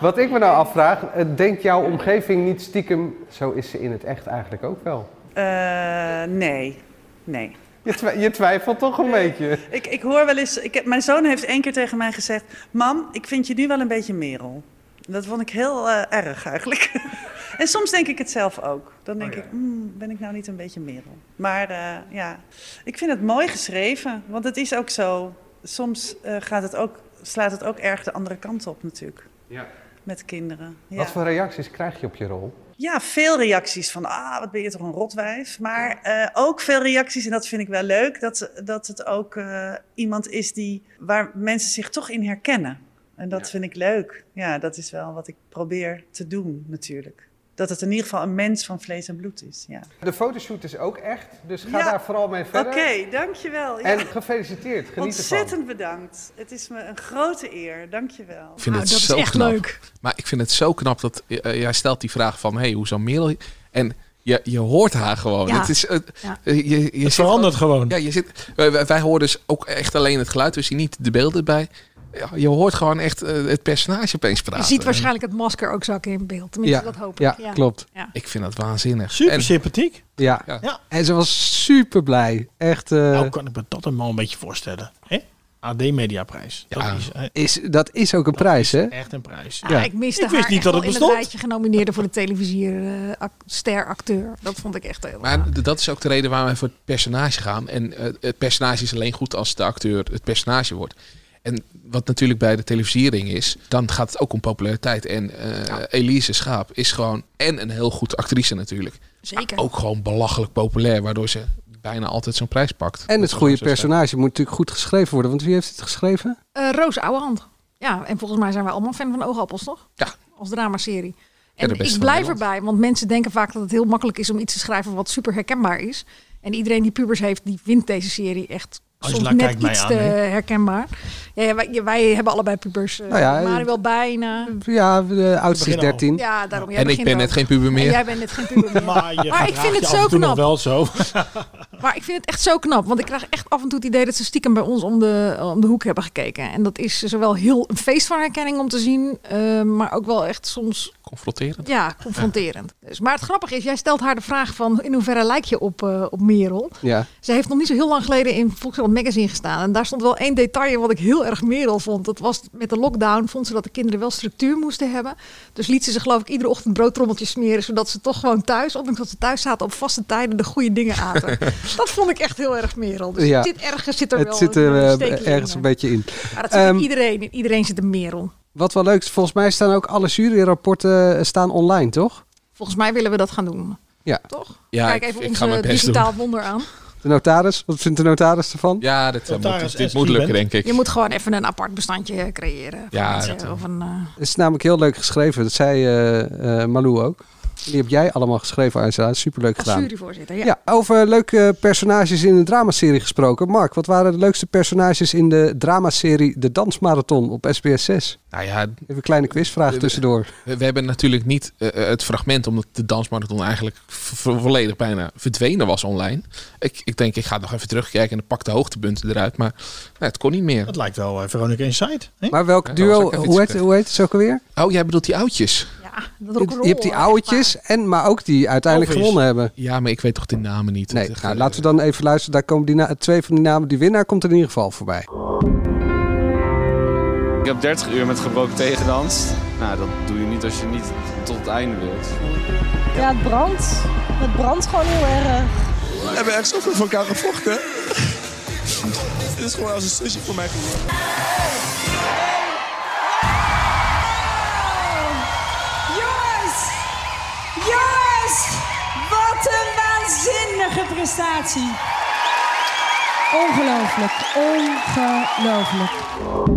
[SPEAKER 2] Wat ik me nou afvraag, eh, denkt jouw omgeving niet stiekem... Zo is ze in het echt eigenlijk ook wel.
[SPEAKER 18] Eh, nee, nee.
[SPEAKER 2] Je, twi- je twijfelt toch een beetje.
[SPEAKER 18] Ik, ik hoor wel eens, ik heb, mijn zoon heeft één keer tegen mij gezegd: Mam, ik vind je nu wel een beetje merel. Dat vond ik heel eh, erg eigenlijk. en soms denk ik het zelf ook. Dan
[SPEAKER 2] Oh
[SPEAKER 18] denk ik: "Mm, ben ik nou niet een beetje merel? Maar eh, ja, ik vind het mooi geschreven, want het is ook zo. Soms eh, gaat het ook, slaat het ook erg de andere kant op natuurlijk.
[SPEAKER 2] Ja.
[SPEAKER 18] Met kinderen. Ja.
[SPEAKER 2] Wat voor reacties krijg je op je rol?
[SPEAKER 18] Ja, veel reacties van, ah, wat ben je toch een rotwijf. Maar eh, ook veel reacties, en dat vind ik wel leuk, dat, dat het ook eh, iemand is die, waar mensen zich toch in herkennen. En dat vind ik leuk. Ja, dat is wel wat ik probeer te doen natuurlijk. Dat het in ieder geval een mens van vlees en bloed is. Ja.
[SPEAKER 2] De fotoshoot is ook echt, dus ga
[SPEAKER 18] Ja.
[SPEAKER 2] daar vooral mee
[SPEAKER 18] Oké,
[SPEAKER 2] verder.
[SPEAKER 18] dankjewel. Ja.
[SPEAKER 2] En gefeliciteerd, geniet ervan.
[SPEAKER 18] Ontzettend bedankt. Het is me een grote eer. Dankjewel.
[SPEAKER 3] Ik vind
[SPEAKER 10] Ah,
[SPEAKER 2] Nou,
[SPEAKER 3] het zo knap. Maar ik vind het zo knap dat eh, jij stelt die vraag van... hey, hoe zou Merel... En je, je hoort haar gewoon.
[SPEAKER 11] Ja.
[SPEAKER 3] Het, is, eh,
[SPEAKER 11] Ja.
[SPEAKER 3] eh, je, je zit
[SPEAKER 11] verandert gewoon.
[SPEAKER 3] Ja, je zit, wij, wij- wij horen dus ook echt alleen het geluid. Dus je niet de beelden bij. Ja, je hoort gewoon echt eh, het personage opeens praten.
[SPEAKER 10] Je ziet waarschijnlijk het masker ook zakken in beeld. Tenminste, dat hoop ik. Ja.
[SPEAKER 3] Ik vind dat waanzinnig.
[SPEAKER 11] Super
[SPEAKER 3] En-
[SPEAKER 11] sympathiek.
[SPEAKER 2] Ja.
[SPEAKER 11] Ja.
[SPEAKER 2] En ze was super blij. Echt. eh,
[SPEAKER 11] Nou kan ik me dat helemaal een beetje voorstellen. Hè? AD Mediaprijs. Dat is, eh,
[SPEAKER 2] is, dat is ook een prijs, hè?
[SPEAKER 11] echt een prijs.
[SPEAKER 10] Ah, Ik miste
[SPEAKER 11] ik wist
[SPEAKER 10] haar
[SPEAKER 11] niet
[SPEAKER 10] echt
[SPEAKER 11] dat
[SPEAKER 10] wel in
[SPEAKER 11] het
[SPEAKER 10] het
[SPEAKER 11] bestond.
[SPEAKER 10] rijtje genomineerden voor de televisierster-acteur. dat vond ik echt heel
[SPEAKER 3] Maar d- dat is ook de reden waarom wij voor het personage gaan. En eh, het personage is alleen goed als de acteur het personage wordt. En wat natuurlijk bij de televisiering is, dan gaat het ook om populariteit. En eh, Elise Schaap is gewoon en een heel goed actrice natuurlijk.
[SPEAKER 10] Zeker.
[SPEAKER 11] Oh,
[SPEAKER 3] Maar ook gewoon belachelijk populair, waardoor ze bijna altijd zo'n prijs pakt.
[SPEAKER 2] En
[SPEAKER 3] Dat
[SPEAKER 2] het
[SPEAKER 3] is gewoon zo
[SPEAKER 2] goede
[SPEAKER 3] sterk.
[SPEAKER 2] personage moet natuurlijk goed geschreven worden. Want wie heeft het geschreven?
[SPEAKER 10] Eh, Roos Ouwehand. Ja, en volgens mij zijn wij allemaal fan van Oogappels, toch?
[SPEAKER 3] Ja.
[SPEAKER 10] Als dramaserie.
[SPEAKER 3] Ja,
[SPEAKER 10] En
[SPEAKER 3] de beste
[SPEAKER 10] ik
[SPEAKER 3] van
[SPEAKER 10] blijf
[SPEAKER 3] Nederland.
[SPEAKER 10] erbij, want mensen denken vaak dat het heel makkelijk is om iets te schrijven wat super herkenbaar is. En iedereen die pubers heeft, die vindt deze serie echt
[SPEAKER 11] Angela
[SPEAKER 10] soms net
[SPEAKER 11] kijkt mij
[SPEAKER 10] iets
[SPEAKER 11] aan,
[SPEAKER 10] te
[SPEAKER 11] hè?
[SPEAKER 10] herkenbaar. Ja, ja, wij, wij hebben allebei pubers. eh,
[SPEAKER 2] Nou ja,
[SPEAKER 10] maar wel bijna.
[SPEAKER 2] Ja, de oudste is
[SPEAKER 11] beginnen al.
[SPEAKER 2] 13.
[SPEAKER 10] Ja, daarom. jij
[SPEAKER 3] En ik
[SPEAKER 10] begint
[SPEAKER 3] ben
[SPEAKER 10] ook.
[SPEAKER 3] net geen puber
[SPEAKER 10] En
[SPEAKER 3] meer.
[SPEAKER 10] jij bent net geen puber meer.
[SPEAKER 11] Maar, je
[SPEAKER 10] Maar ik
[SPEAKER 11] gedraagt
[SPEAKER 10] vind
[SPEAKER 11] je
[SPEAKER 10] het
[SPEAKER 11] af en
[SPEAKER 10] zo
[SPEAKER 11] toe nog
[SPEAKER 10] knap.
[SPEAKER 11] wel zo.
[SPEAKER 10] Maar ik vind het echt zo knap. Want ik krijg echt af en toe het idee dat ze stiekem bij ons om de, om de hoek hebben gekeken. En dat is zowel heel een feest van herkenning om te zien. eh, maar ook wel echt soms
[SPEAKER 3] Confronterend.
[SPEAKER 10] ja, confronterend. Dus, maar het grappige is, jij stelt haar de vraag van in hoeverre lijk je op, eh, op Merel.
[SPEAKER 2] Ja.
[SPEAKER 10] Ze heeft nog niet zo heel lang geleden in Volkskrant Magazine gestaan. En daar stond wel één detail in wat ik heel erg merel vond. Dat was met de lockdown vond ze dat de kinderen wel structuur moesten hebben. Dus liet ze ze geloof ik iedere ochtend broodtrommeltjes smeren. Zodat ze toch gewoon thuis, ondanks dat ze thuis zaten op vaste tijden, de goede dingen aten. dat vond ik echt heel erg merel. Dus
[SPEAKER 2] Ja.
[SPEAKER 10] het zit ergens zit er
[SPEAKER 2] het
[SPEAKER 10] wel
[SPEAKER 2] zit
[SPEAKER 10] een,
[SPEAKER 2] er
[SPEAKER 10] eh,
[SPEAKER 2] eh,
[SPEAKER 10] steekje in,
[SPEAKER 2] ergens
[SPEAKER 10] eh.
[SPEAKER 2] een beetje in.
[SPEAKER 10] Maar dat zit in
[SPEAKER 2] Ehm,
[SPEAKER 10] iedereen. In iedereen zit een merel.
[SPEAKER 2] Wat wel leuk is, volgens mij staan ook alle juryrapporten eh, staan online, toch?
[SPEAKER 10] Volgens mij willen we dat gaan doen.
[SPEAKER 2] Ja.
[SPEAKER 10] Toch?
[SPEAKER 2] Ja,
[SPEAKER 10] Kijk
[SPEAKER 2] ik-
[SPEAKER 10] even
[SPEAKER 2] ik ga
[SPEAKER 10] onze
[SPEAKER 2] mijn best
[SPEAKER 10] digitaal
[SPEAKER 2] doen.
[SPEAKER 10] wonder aan.
[SPEAKER 2] De notaris, wat vindt de notaris ervan?
[SPEAKER 3] Ja, dit, eh, moet, dit moet lukken, denk ik.
[SPEAKER 10] Je moet gewoon even een apart bestandje eh, creëren. voor
[SPEAKER 2] Ja,
[SPEAKER 10] mensen,
[SPEAKER 2] dat wel.
[SPEAKER 10] of een, eh,
[SPEAKER 2] Het is namelijk heel leuk geschreven. Dat zei eh, eh, Malou ook. Die heb jij allemaal geschreven, Angela. Superleuk
[SPEAKER 10] als
[SPEAKER 2] gedaan.
[SPEAKER 10] juryvoorzitter. Ja.
[SPEAKER 2] Ja, over leuke personages in de dramaserie gesproken. Mark, wat waren de leukste personages in de dramaserie De Dansmarathon op SBS 6?
[SPEAKER 3] Nou ja,
[SPEAKER 2] Even een kleine quizvraag tussendoor.
[SPEAKER 3] We, we hebben natuurlijk niet eh, eh, het fragment, omdat de dansmarathon eigenlijk vo- vo- volledig bijna verdwenen was online. Ik, ik denk, ik ga nog even terugkijken en pak de hoogtepunten eruit. Maar nou, het kon niet meer.
[SPEAKER 11] Het lijkt wel eh, Veronica Inside.
[SPEAKER 2] Maar welk
[SPEAKER 3] Ja, dat was ook
[SPEAKER 2] duo,
[SPEAKER 3] even
[SPEAKER 2] hoe
[SPEAKER 3] iets
[SPEAKER 2] heet, hoe heet het zo ook alweer?
[SPEAKER 3] Oh, jij bedoelt die oudjes?
[SPEAKER 10] dat
[SPEAKER 2] Je je hebt die ouwetjes, en, maar ook die uiteindelijk
[SPEAKER 3] Alvis.
[SPEAKER 2] gewonnen hebben.
[SPEAKER 3] Ja, maar ik weet toch de namen niet.
[SPEAKER 2] Nee, nou, laten
[SPEAKER 3] eh,
[SPEAKER 2] we dan even luisteren. Daar komen die na- twee van die namen. Die winnaar komt er in ieder geval voorbij.
[SPEAKER 19] Ik heb 30 uur met gebroken tegendanst. Nou, dat doe je niet als je niet tot het einde wilt.
[SPEAKER 20] Ja, het brandt. Het brandt gewoon heel erg.
[SPEAKER 21] We hebben echt zoveel voor elkaar gevochten. Dit is gewoon als een sushi voor mij geworden.
[SPEAKER 20] Jongens! Jongens! Wat een waanzinnige prestatie. Ongelooflijk. Ongelooflijk.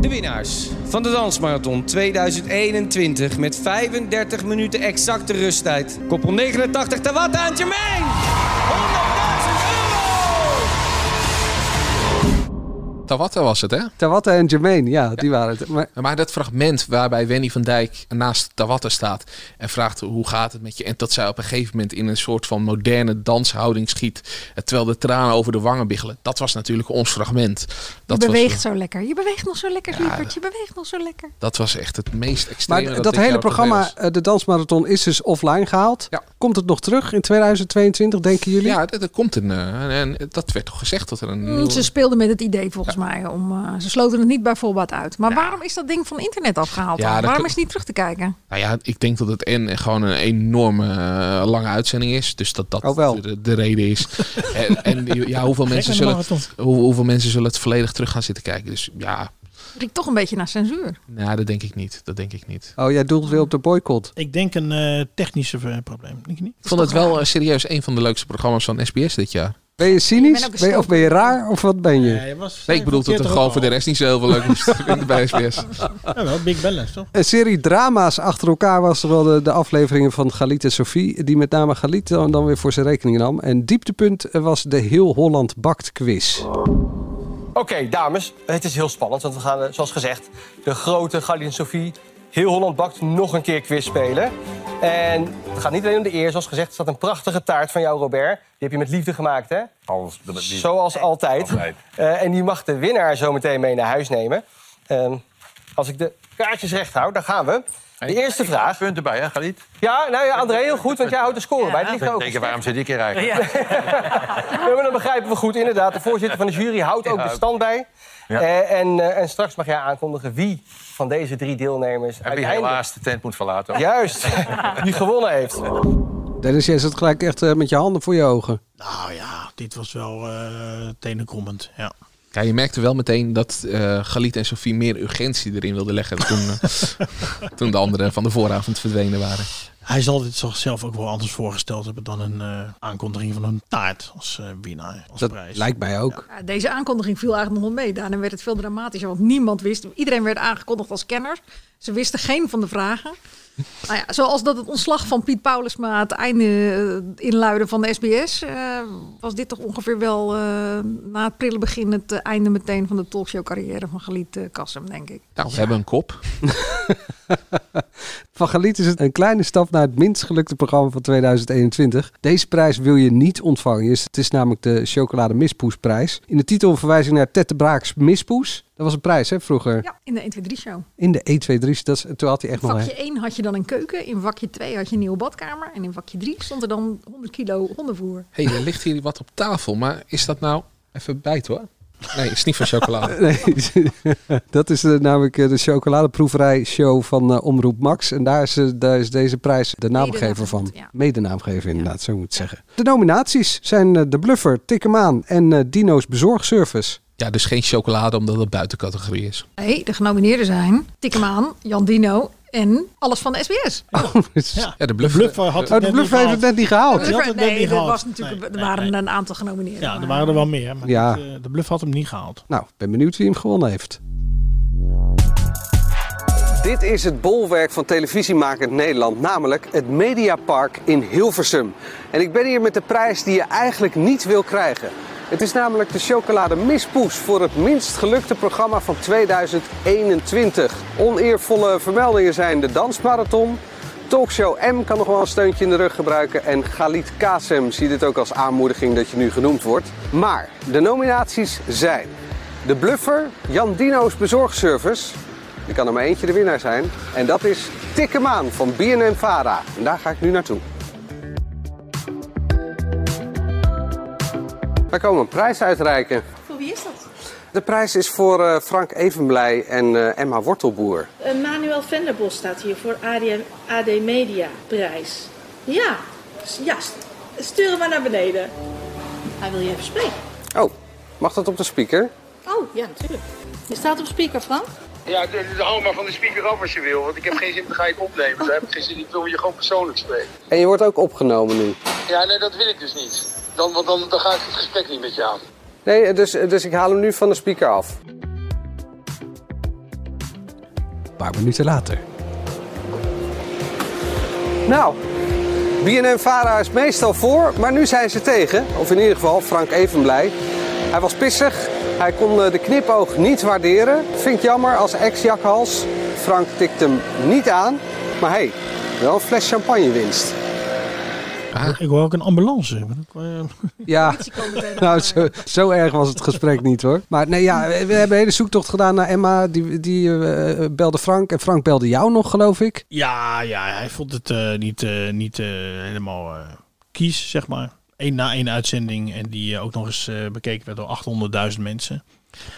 [SPEAKER 22] De winnaars van de Dansmarathon 2021 met 35 minuten exacte rusttijd. Koppel 89 te watten aan Jermaine!
[SPEAKER 3] Tawatta was het, hè?
[SPEAKER 2] Tawatta en Jermaine, ja, die waren het. Maar...
[SPEAKER 3] dat fragment waarbij Wendy van Dijk naast Tawatta staat en vraagt hoe gaat het met je. En dat zij op een gegeven moment in een soort van moderne danshouding schiet. eh, Terwijl de tranen over de wangen biggelen. Dat was natuurlijk ons fragment. Dat
[SPEAKER 10] je beweegt
[SPEAKER 3] was, eh,
[SPEAKER 10] zo lekker. Je beweegt nog zo lekker,
[SPEAKER 3] Ja,
[SPEAKER 10] lieverd.
[SPEAKER 3] dat-
[SPEAKER 10] Je beweegt nog zo lekker.
[SPEAKER 3] dat was echt het meest extreme.
[SPEAKER 2] Maar dat,
[SPEAKER 3] dit jaar
[SPEAKER 2] hele
[SPEAKER 3] op tv
[SPEAKER 2] programma,
[SPEAKER 3] was.
[SPEAKER 2] eh, de Dansmarathon, is dus offline gehaald. Komt het nog terug in 2022, denken jullie?
[SPEAKER 3] Ja, er er komt een. eh, En en dat werd toch gezegd dat er een.
[SPEAKER 10] Mm,
[SPEAKER 3] nieuwe-
[SPEAKER 10] Ze speelden met het idee volgens mij. Om, eh, ze sloten het niet bij voorbaat uit. Maar waarom is dat ding van internet afgehaald?
[SPEAKER 3] Ja,
[SPEAKER 10] dan?
[SPEAKER 3] dat
[SPEAKER 10] Waarom
[SPEAKER 3] kun-
[SPEAKER 10] is het niet terug te kijken?
[SPEAKER 3] Nou ja, ik denk dat het en gewoon een enorme eh, lange uitzending is. Dus dat dat de, de reden is. en en ja, hoeveel,
[SPEAKER 10] Oh, Gek
[SPEAKER 3] mensen
[SPEAKER 10] met de
[SPEAKER 3] zullen, hoe, hoeveel mensen zullen het volledig terug gaan zitten kijken? Dus ja,
[SPEAKER 10] Riekt toch een beetje naar censuur.
[SPEAKER 3] nou, dat denk ik niet. Dat denk ik niet.
[SPEAKER 2] Oh, jij doelt weer op de boycott.
[SPEAKER 11] Ik denk een eh, technische eh, probleem. Denk je niet?
[SPEAKER 3] Ik vond het wel eh, serieus een van de leukste programma's van SBS dit jaar.
[SPEAKER 2] Ben je cynisch?
[SPEAKER 11] ook een
[SPEAKER 2] Ben je- of ben je raar? Of wat ben je?
[SPEAKER 3] Nee, ik bedoel dat er gewoon voor de rest niet zo heel veel leuk moest vinden bij SBS.
[SPEAKER 11] Ja, wel, Big Balance, toch?
[SPEAKER 2] Een serie drama's achter elkaar was er wel de, de afleveringen van Galit en Sophie. Die met name Galit dan, dan weer voor zijn rekening nam. En dieptepunt eh, was de Heel Holland Bakt quiz.
[SPEAKER 7] Oké, dames, het is heel spannend, want we gaan, eh, zoals gezegd, de grote Galit en Sophie Heel Holland Bakt nog een keer quiz spelen. En het gaat niet alleen om de eer, zoals gezegd, er staat een prachtige taart van jou, Robert. Die heb je met liefde gemaakt, hè?
[SPEAKER 14] Alles, die-
[SPEAKER 7] Zoals altijd.
[SPEAKER 14] Altijd.
[SPEAKER 7] Eh, en die mag de winnaar zo meteen mee naar huis nemen. Ehm, als ik de kaartjes recht hou, dan gaan we. De eerste vraag. Punten bij, hè, Galit? Ja, nou ja, André, heel goed, want jij houdt de score bij. Het ligt er ook.
[SPEAKER 14] Denk je, waarom zit ik hier eigenlijk?
[SPEAKER 7] Ja, maar dat begrijpen we goed, inderdaad. De voorzitter van de jury houdt ook de stand bij.
[SPEAKER 14] Ja.
[SPEAKER 7] Eh, en, eh, en straks mag jij aankondigen wie van deze drie deelnemers
[SPEAKER 14] Heb je
[SPEAKER 7] uiteindelijk...
[SPEAKER 14] helaas de tent moet verlaten.
[SPEAKER 7] Juist, die gewonnen heeft.
[SPEAKER 2] Dennis, jij zit gelijk echt eh, met je handen voor je ogen.
[SPEAKER 11] Nou ja, dit was wel eh tenenkomend. Ja.
[SPEAKER 3] Ja, je merkte wel meteen dat eh Galit en Sofie meer urgentie erin wilden leggen toen, eh, toen de anderen van de vooravond verdwenen waren.
[SPEAKER 11] Hij zal dit toch zelf ook wel anders voorgesteld hebben dan een eh, aankondiging van een taart als eh, winnaar, als prijs.
[SPEAKER 2] Lijkt mij ook.
[SPEAKER 10] Ja, deze aankondiging viel eigenlijk nog wel mee. Daarna werd het veel dramatischer. Want niemand wist. Iedereen werd aangekondigd als kenner. Ze wisten geen van de vragen. Nou ja, zoals dat het ontslag van Piet Paulusma het einde eh, inluiden van de SBS... eh, was dit toch ongeveer wel eh, na het prille begin... het eh, einde meteen van de talkshow carrière van Galit eh, Kassem, denk ik.
[SPEAKER 3] Nou, we hebben een kop.
[SPEAKER 2] Van Galiet is het een kleine stap naar het minst gelukte programma van 2021. Deze prijs wil je niet ontvangen. Dus Het is namelijk de Chocolade Mispoesprijs. In de titel een verwijzing naar Ted de Braaks Mispoes. Dat was een prijs, hè, vroeger?
[SPEAKER 10] In de 1-2-3-show.
[SPEAKER 2] In de 1, 2, 3. Dat is, toen had hij echt
[SPEAKER 10] In
[SPEAKER 2] nog...
[SPEAKER 10] vakje 1 had je dan een keuken, in vakje 2 had je een nieuwe badkamer en in vakje 3 stond er dan 100 kilo hondenvoer.
[SPEAKER 3] Hé, hey, er ligt hier wat op tafel, maar is dat nou... Even bijt hoor. Nee, het is niet van chocolade.
[SPEAKER 2] Nee, dat is eh, namelijk eh, de chocoladeproeverij show van eh, Omroep Max. En daar is, eh, daar is deze prijs de naamgever van. Medenaamgever inderdaad, zo moet ik het zeggen. De nominaties zijn eh, De Bluffer, Tik 'em aan en eh, Dino's Bezorgservice.
[SPEAKER 3] Ja, dus geen chocolade omdat het buitencategorie is.
[SPEAKER 10] Nee, de genomineerden zijn Tik 'em aan, Jan Dino en alles van de SBS.
[SPEAKER 3] Ja, de bluff,
[SPEAKER 11] had
[SPEAKER 2] Oh, de Bluffer heeft het net niet gehaald.
[SPEAKER 11] Oh, Die had het net
[SPEAKER 10] nee,
[SPEAKER 11] niet
[SPEAKER 10] er,
[SPEAKER 11] gehaald.
[SPEAKER 10] was natuurlijk, er waren een aantal genomineerden.
[SPEAKER 11] Ja, er
[SPEAKER 10] maar-
[SPEAKER 11] waren er wel meer. Maar
[SPEAKER 2] Ja.
[SPEAKER 11] dit, eh, de bluff had hem niet gehaald.
[SPEAKER 2] Nou, ik ben benieuwd wie hem gewonnen heeft. Dit is het bolwerk van televisiemakend Nederland, namelijk het Mediapark in Hilversum. En ik ben hier met de prijs die je eigenlijk niet wil krijgen. Het is namelijk de chocolade mispoes voor het minst gelukte programma van 2021. Oneervolle vermeldingen zijn de dansmarathon, Talkshow M kan nog wel een steuntje in de rug gebruiken. En Galit Kasem ziet het ook als aanmoediging dat je nu genoemd wordt. Maar de nominaties zijn De Bluffer, Jan Dino's Bezorgservice. Er kan er maar eentje de winnaar zijn. En dat is Tikke Maan van BNN Vara. En daar ga ik nu naartoe. Wij komen een prijs uitreiken.
[SPEAKER 4] Voor wie is dat?
[SPEAKER 2] De prijs is voor eh, Frank Evenblij en eh, Emma Wortelboer.
[SPEAKER 4] Eh, Manuel Venderbos staat hier voor AD, AD Media prijs. Ja, S- ja st- stuur hem maar naar beneden. Hij wil je even spreken.
[SPEAKER 2] Oh, mag dat op de speaker?
[SPEAKER 4] Oh, ja, natuurlijk. Je staat op speaker, Frank.
[SPEAKER 1] Ja, de, de, hou maar van de speaker af als je wil, want ik heb geen zin, dan ga ik opnemen. Daar heb ik geen zin, in. ik wil je gewoon persoonlijk spreken.
[SPEAKER 2] En je wordt ook opgenomen nu.
[SPEAKER 1] Ja, nee, dat wil ik dus niet. Dan, want dan, dan ga ik het gesprek niet met je aan.
[SPEAKER 2] Nee, dus, dus ik haal hem nu van de speaker af. Een paar minuten later. Nou, BNN Vara is meestal voor, maar nu zijn ze tegen. Of in ieder geval Frank Evenblij. Hij was pissig, hij kon eh, de knipoog niet waarderen. Vind ik jammer als ex-jakhals. Frank tikt hem niet aan. Maar hé, hey, wel een fles champagnewinst.
[SPEAKER 11] Ik hoor ook een ambulance. Ik, eh,
[SPEAKER 2] Ja, nou, zo, zo erg was het gesprek niet hoor. Maar nee, ja, we, we hebben een hele zoektocht gedaan naar Emma. Die, die eh, belde Frank en Frank belde jou nog, geloof ik.
[SPEAKER 11] Ja, ja, hij vond het eh, niet, eh, niet eh, helemaal eh, kies, zeg maar. Eén na één uitzending en die eh, ook nog eens eh, bekeken werd door 800.000 mensen.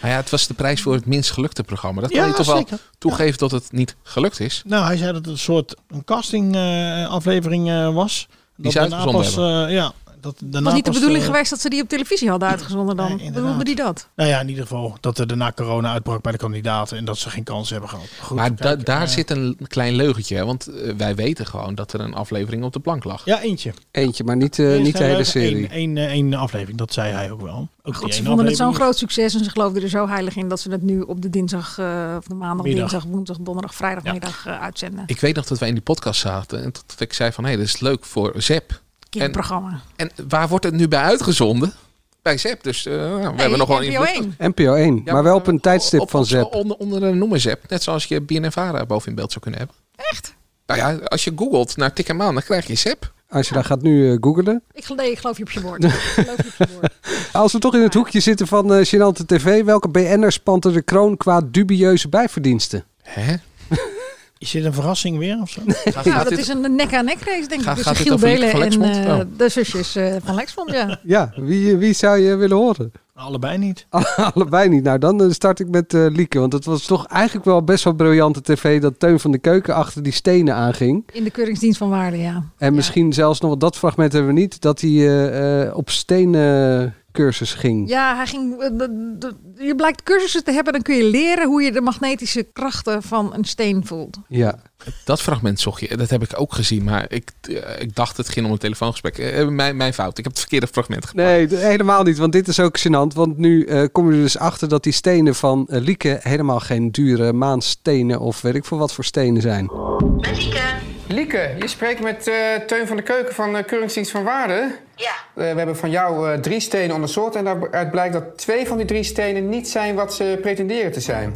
[SPEAKER 3] Nou ja, het was de prijs voor het minst gelukte programma. Dat kan
[SPEAKER 11] Ja,
[SPEAKER 3] je toch
[SPEAKER 11] zeker.
[SPEAKER 3] wel toegeven dat het niet gelukt is.
[SPEAKER 11] Nou, hij zei dat het een soort een casting eh, aflevering eh, was.
[SPEAKER 3] Die ze
[SPEAKER 11] dat daarna
[SPEAKER 3] uitgezonden
[SPEAKER 11] pas, eh, ja, dat daarna
[SPEAKER 10] Het was niet de
[SPEAKER 11] pas,
[SPEAKER 10] bedoeling
[SPEAKER 11] eh,
[SPEAKER 10] geweest dat ze die op televisie hadden uitgezonden dan. Bedoelde die dat?
[SPEAKER 11] Nou ja, in ieder geval dat er daarna corona uitbrak bij de kandidaten en dat ze geen kans hebben gehad. Goed,
[SPEAKER 3] maar da-
[SPEAKER 11] kijk,
[SPEAKER 3] daar
[SPEAKER 11] eh,
[SPEAKER 3] zit een klein leugentje, hè, want eh, wij weten gewoon dat er een aflevering op de plank lag.
[SPEAKER 11] Ja, eentje.
[SPEAKER 2] Eentje, maar niet, eh,
[SPEAKER 11] Eerst
[SPEAKER 2] niet de hele
[SPEAKER 11] hebben we
[SPEAKER 2] serie.
[SPEAKER 11] één- één, eh, één aflevering, dat zei hij ook wel. Ook die
[SPEAKER 10] God, ze
[SPEAKER 11] ene
[SPEAKER 10] vonden het
[SPEAKER 11] aflevering.
[SPEAKER 10] zo'n groot succes en ze geloofden er zo heilig in dat ze het nu op de dinsdag, eh, of de maandag,
[SPEAKER 3] Middag.
[SPEAKER 10] dinsdag, woensdag, donderdag, vrijdagmiddag eh, uitzenden.
[SPEAKER 3] Ik weet nog dat wij in die podcast zaten en dat ik zei van hé, dat is leuk voor Zep. En,
[SPEAKER 10] Kinderprogramma.
[SPEAKER 3] en waar wordt het nu bij uitgezonden? Bij Zep, dus eh, nou, we hebben nog wel
[SPEAKER 10] NPO 1.
[SPEAKER 3] invloed.
[SPEAKER 2] NPO 1, maar wel op een tijdstip van Zep.
[SPEAKER 3] Onder, onder een noemer Zep, net zoals je BNN Vara boven in beeld zou kunnen hebben.
[SPEAKER 10] Echt?
[SPEAKER 3] Nou ja, als je googelt naar Tik en Maan, dan krijg je Zep.
[SPEAKER 2] Als je daar gaat nu eh, googelen.
[SPEAKER 10] Ik, gel- nee, ik geloof je op je woord. Ik geloof je op je woord.
[SPEAKER 2] Als we toch in het hoekje zitten van eh Gênante TV, welke BN'er spant er de kroon qua dubieuze bijverdiensten?
[SPEAKER 3] Hè?
[SPEAKER 11] Is dit een verrassing weer of zo?
[SPEAKER 10] nou, dat is een nek aan nek race, denk
[SPEAKER 11] Gaat-
[SPEAKER 10] ik. Dus
[SPEAKER 11] gaat dit
[SPEAKER 10] Giel
[SPEAKER 11] over Lieke
[SPEAKER 10] Belen
[SPEAKER 11] van
[SPEAKER 10] en
[SPEAKER 11] Lexmond?
[SPEAKER 10] eh,
[SPEAKER 11] Oh.
[SPEAKER 10] de zusjes eh, van Lexmond, ja.
[SPEAKER 2] Ja, wie, wie zou je willen horen?
[SPEAKER 11] Allebei niet.
[SPEAKER 2] Allebei niet. Nou, dan eh, start ik met eh, Lieke. Want het was toch eigenlijk wel best wel briljante tv dat Teun van de Keuken achter die stenen aanging.
[SPEAKER 10] In de keuringsdienst van waarde, ja.
[SPEAKER 2] En misschien zelfs nog, want dat fragment hebben we niet, dat hij eh, eh, op stenen cursus ging.
[SPEAKER 10] Ja, hij ging, eh, de- de- je blijkt cursussen te hebben, dan kun je leren hoe je de magnetische krachten van een steen voelt.
[SPEAKER 2] Ja.
[SPEAKER 3] Dat fragment zocht je. Dat heb ik ook gezien. Maar ik, eh, ik dacht het ging om een telefoongesprek. Eh, mijn, mijn fout. Ik heb het verkeerde fragment gepakt.
[SPEAKER 2] Nee, d- helemaal niet. Want dit is ook gênant. Want nu eh, kom je er dus achter dat die stenen van eh, Lieke helemaal geen dure maanstenen of weet ik voor wat voor stenen zijn.
[SPEAKER 5] Lieke, je spreekt met eh, Teun van de Keuken van eh, Keuringsdienst van Waarde. Ja. we hebben van jou eh, drie stenen onderzocht en daaruit blijkt dat twee van die drie stenen niet zijn wat ze pretenderen te zijn.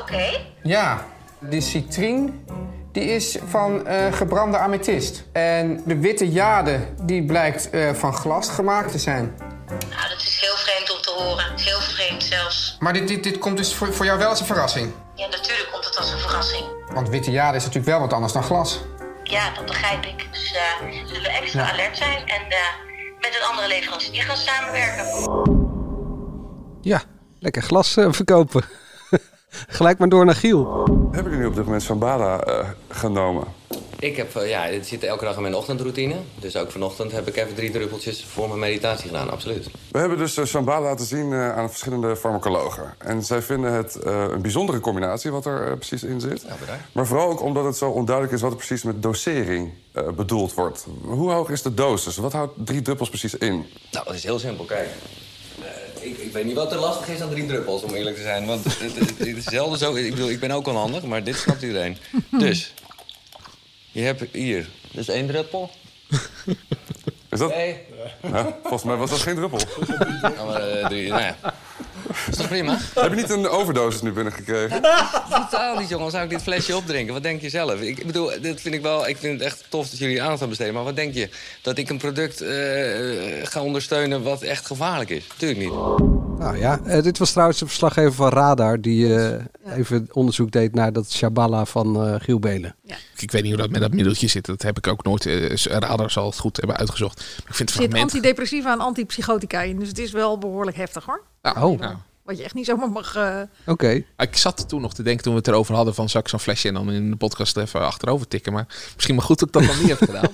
[SPEAKER 23] Oké.
[SPEAKER 5] Ja, die citrien die is van eh, gebrande amethyst. En de witte jade die blijkt eh, van glas gemaakt te zijn.
[SPEAKER 23] Nou, dat is heel vreemd om te horen. Heel vreemd zelfs.
[SPEAKER 5] Maar dit, dit, dit komt dus voor, voor jou wel als een verrassing.
[SPEAKER 23] Ja, natuurlijk komt het als een verrassing.
[SPEAKER 5] Want witte jade is natuurlijk wel wat anders dan glas.
[SPEAKER 23] Ja, dat begrijp ik. Dus eh, we zullen extra
[SPEAKER 5] Ja.
[SPEAKER 23] alert zijn en eh, met een andere leverancier gaan samenwerken.
[SPEAKER 2] Ja, lekker glas eh, verkopen. Gelijk maar door naar Giel.
[SPEAKER 24] Heb ik er nu op dit moment van Bada eh, genomen?
[SPEAKER 25] Ik heb, eh, ja, dit zit elke dag in mijn ochtendroutine. Dus ook vanochtend heb ik even drie druppeltjes voor mijn meditatie gedaan, absoluut.
[SPEAKER 24] We hebben dus eh, Shambhala laten zien eh, aan verschillende farmacologen. En zij vinden het eh, een bijzondere combinatie wat er eh, precies in zit. maar vooral ook omdat het zo onduidelijk is wat er precies met dosering eh, bedoeld wordt. Hoe hoog is de dosis? Wat houdt drie druppels precies in?
[SPEAKER 25] Nou, dat is heel simpel, kijk. Eh, ik, ik weet niet wat er lastig is aan drie druppels, om eerlijk te zijn. Want het, het- het is zelden zo. Ik bedoel, ik ben ook onhandig, maar dit snapt iedereen. Dus, je hebt hier. Dus één druppel.
[SPEAKER 24] Is dat?
[SPEAKER 25] Nee.
[SPEAKER 24] Huh? Eh, volgens mij was dat geen druppel.
[SPEAKER 25] Ja, maar, eh, drie- nou ja. Is toch prima?
[SPEAKER 24] Heb je niet een overdosis nu binnengekregen?
[SPEAKER 25] Totaal niet, jongen. Zou ik dit flesje opdrinken? Wat denk je zelf? Ik bedoel, dit vind ik wel. Ik vind het echt tof dat jullie aandacht aan besteden. Maar wat denk je? Dat ik een product eh, eh, ga ondersteunen wat echt gevaarlijk is? Tuurlijk niet.
[SPEAKER 2] Nou ja, eh, dit was trouwens de verslaggever van Radar die eh, even onderzoek deed naar dat Shabala van eh Giel Belen.
[SPEAKER 3] Ik weet niet hoe dat met dat middeltje zit. Dat heb ik ook nooit. eh, radar zal het goed hebben uitgezocht. Maar ik
[SPEAKER 10] Er
[SPEAKER 3] vind het
[SPEAKER 10] zit
[SPEAKER 3] fragment.
[SPEAKER 10] antidepressiva en antipsychotica in, dus het is wel behoorlijk heftig hoor.
[SPEAKER 3] oh,
[SPEAKER 10] Wat je echt niet zomaar mag... eh,
[SPEAKER 2] oké.
[SPEAKER 3] Ik zat toen nog te denken toen we het erover hadden van zou ik zo'n flesje en dan in de podcast even achterover tikken. Maar misschien maar goed dat ik dat dan niet heb gedaan.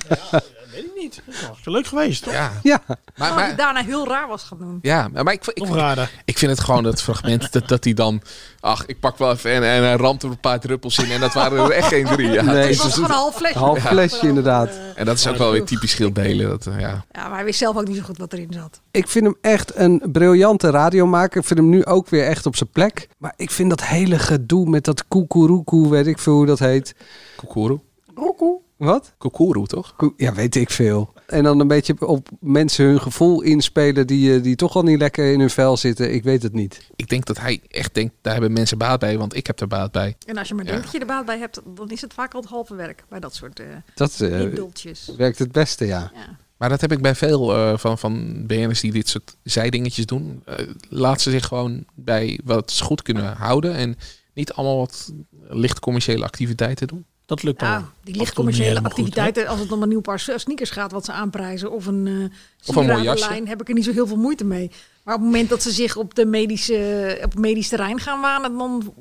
[SPEAKER 11] Weet ik niet. Dat is wel hartstikke leuk geweest, toch?
[SPEAKER 3] Ja.
[SPEAKER 10] Maar,
[SPEAKER 3] maar-
[SPEAKER 10] Oh, die daarna heel raar was gaan doen.
[SPEAKER 3] Ja, maar ik, ik, ik, ik vind het gewoon dat fragment dat, dat hij dan... Ach, ik pak wel even en, en hij ramt er een paar druppels in. En dat waren er echt geen drie. Ja,
[SPEAKER 2] Nee,
[SPEAKER 3] het
[SPEAKER 2] het
[SPEAKER 3] is- dus-
[SPEAKER 2] was gewoon een half flesje. Half
[SPEAKER 3] Ja.
[SPEAKER 2] flesje, inderdaad.
[SPEAKER 3] En dat is ook wel weer typisch schildbelen. Dat, eh, ja.
[SPEAKER 10] Ja, maar hij wist zelf ook niet zo goed wat erin zat.
[SPEAKER 2] Ik vind hem echt een briljante radiomaker. Ik vind hem nu ook weer echt op zijn plek. Maar ik vind dat hele gedoe met dat koekoeroekoe, weet ik veel hoe dat heet.
[SPEAKER 3] Koekoeroe?
[SPEAKER 2] Roekoe. Wat?
[SPEAKER 3] Koekoeroe, toch?
[SPEAKER 2] Ja, weet ik veel. En dan een beetje op mensen hun gevoel inspelen die, eh, die toch al niet lekker in hun vel zitten. Ik weet het niet.
[SPEAKER 3] Ik denk dat hij echt denkt, daar hebben mensen baat bij. Want ik heb er baat bij.
[SPEAKER 10] En als je maar
[SPEAKER 3] Ja.
[SPEAKER 10] denkt dat je er baat bij hebt, dan is het vaak al het halve werk bij dat soort eh
[SPEAKER 2] Dat eh,
[SPEAKER 10] middeltjes.
[SPEAKER 2] werkt het beste, ja.
[SPEAKER 3] Maar dat heb ik bij veel eh, van, van BN'ers die dit soort zijdingetjes doen. Eh, laat ze zich gewoon bij wat ze goed kunnen houden. En niet allemaal wat licht commerciële activiteiten doen.
[SPEAKER 11] Dat lukt
[SPEAKER 10] Ja, die licht commerciële activiteiten, als het om een nieuw paar sneakers gaat wat ze aanprijzen of een eh
[SPEAKER 3] Of een mooi jasje.
[SPEAKER 10] sieradenlijn, heb ik er niet zo heel veel moeite mee. Maar op het moment dat ze zich op, de medische, op medisch terrein gaan wanen, dan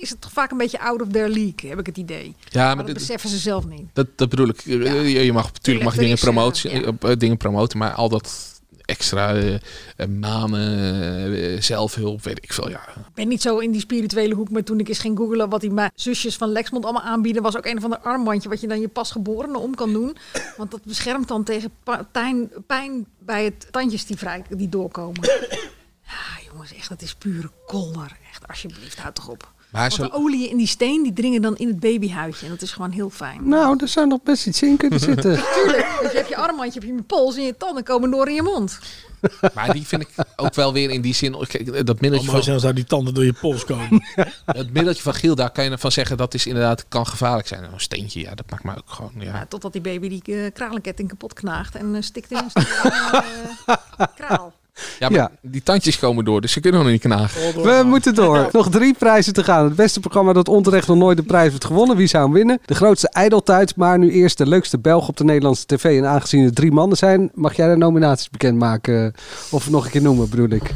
[SPEAKER 10] is het toch vaak een beetje out of their league, heb ik het idee.
[SPEAKER 3] Ja, maar
[SPEAKER 10] maar dat
[SPEAKER 3] dit-
[SPEAKER 10] beseffen ze zelf niet.
[SPEAKER 3] Dat, dat bedoel ik. Eh, Je, je mag natuurlijk mag je
[SPEAKER 10] er
[SPEAKER 3] dingen,
[SPEAKER 10] is, eh,
[SPEAKER 3] promotie, eh, eh, dingen promoten, maar al dat extra eh, eh, manen, eh, zelfhulp, weet ik veel. Ja.
[SPEAKER 10] Ik ben niet zo in die spirituele hoek, maar toen ik eens ging googelen wat die ma- zusjes van Lexmond allemaal aanbieden, was ook een of ander armbandje wat je dan je pasgeborene om kan doen. Want dat beschermt dan tegen pa- tijn- pijn bij het tandjes die, vrij, die doorkomen. Ja, jongens, echt, dat is pure kolder. Echt, alsjeblieft, houd toch op.
[SPEAKER 3] Maar
[SPEAKER 10] Want
[SPEAKER 3] zo-
[SPEAKER 10] de oliën in die steen, die dringen dan in het babyhuidje. En dat is gewoon heel fijn.
[SPEAKER 2] Nou, er zou nog best iets in kunnen zitten.
[SPEAKER 10] Tuurlijk, want je hebt je armbandje, heb je je pols en je tanden komen door in je mond.
[SPEAKER 3] Maar die vind ik ook wel weer in die zin. Kijk, dat
[SPEAKER 11] Oh,
[SPEAKER 3] middeltje
[SPEAKER 11] maar
[SPEAKER 3] van,
[SPEAKER 11] zelfs zou die tanden door je pols komen.
[SPEAKER 3] dat middeltje van Giel, daar kan je van zeggen dat is inderdaad kan gevaarlijk zijn. Een steentje, ja, dat maakt me ook gewoon. Ja.
[SPEAKER 10] Ja, totdat die baby die eh, kralenketting kapot knaagt en eh, stikt in een stuk van, eh, kraal.
[SPEAKER 3] Ja, maar die tandjes komen door, dus ze kunnen nog niet knagen.
[SPEAKER 2] We moeten door. Nog drie prijzen te gaan. Het beste programma dat onterecht nog nooit de prijs heeft gewonnen. Wie zou hem winnen? De grootste ijdeltuit, maar nu eerst de leukste Belg op de Nederlandse tv. En aangezien het drie mannen zijn, mag jij de nominaties bekendmaken? Of nog een keer noemen, bedoel ik.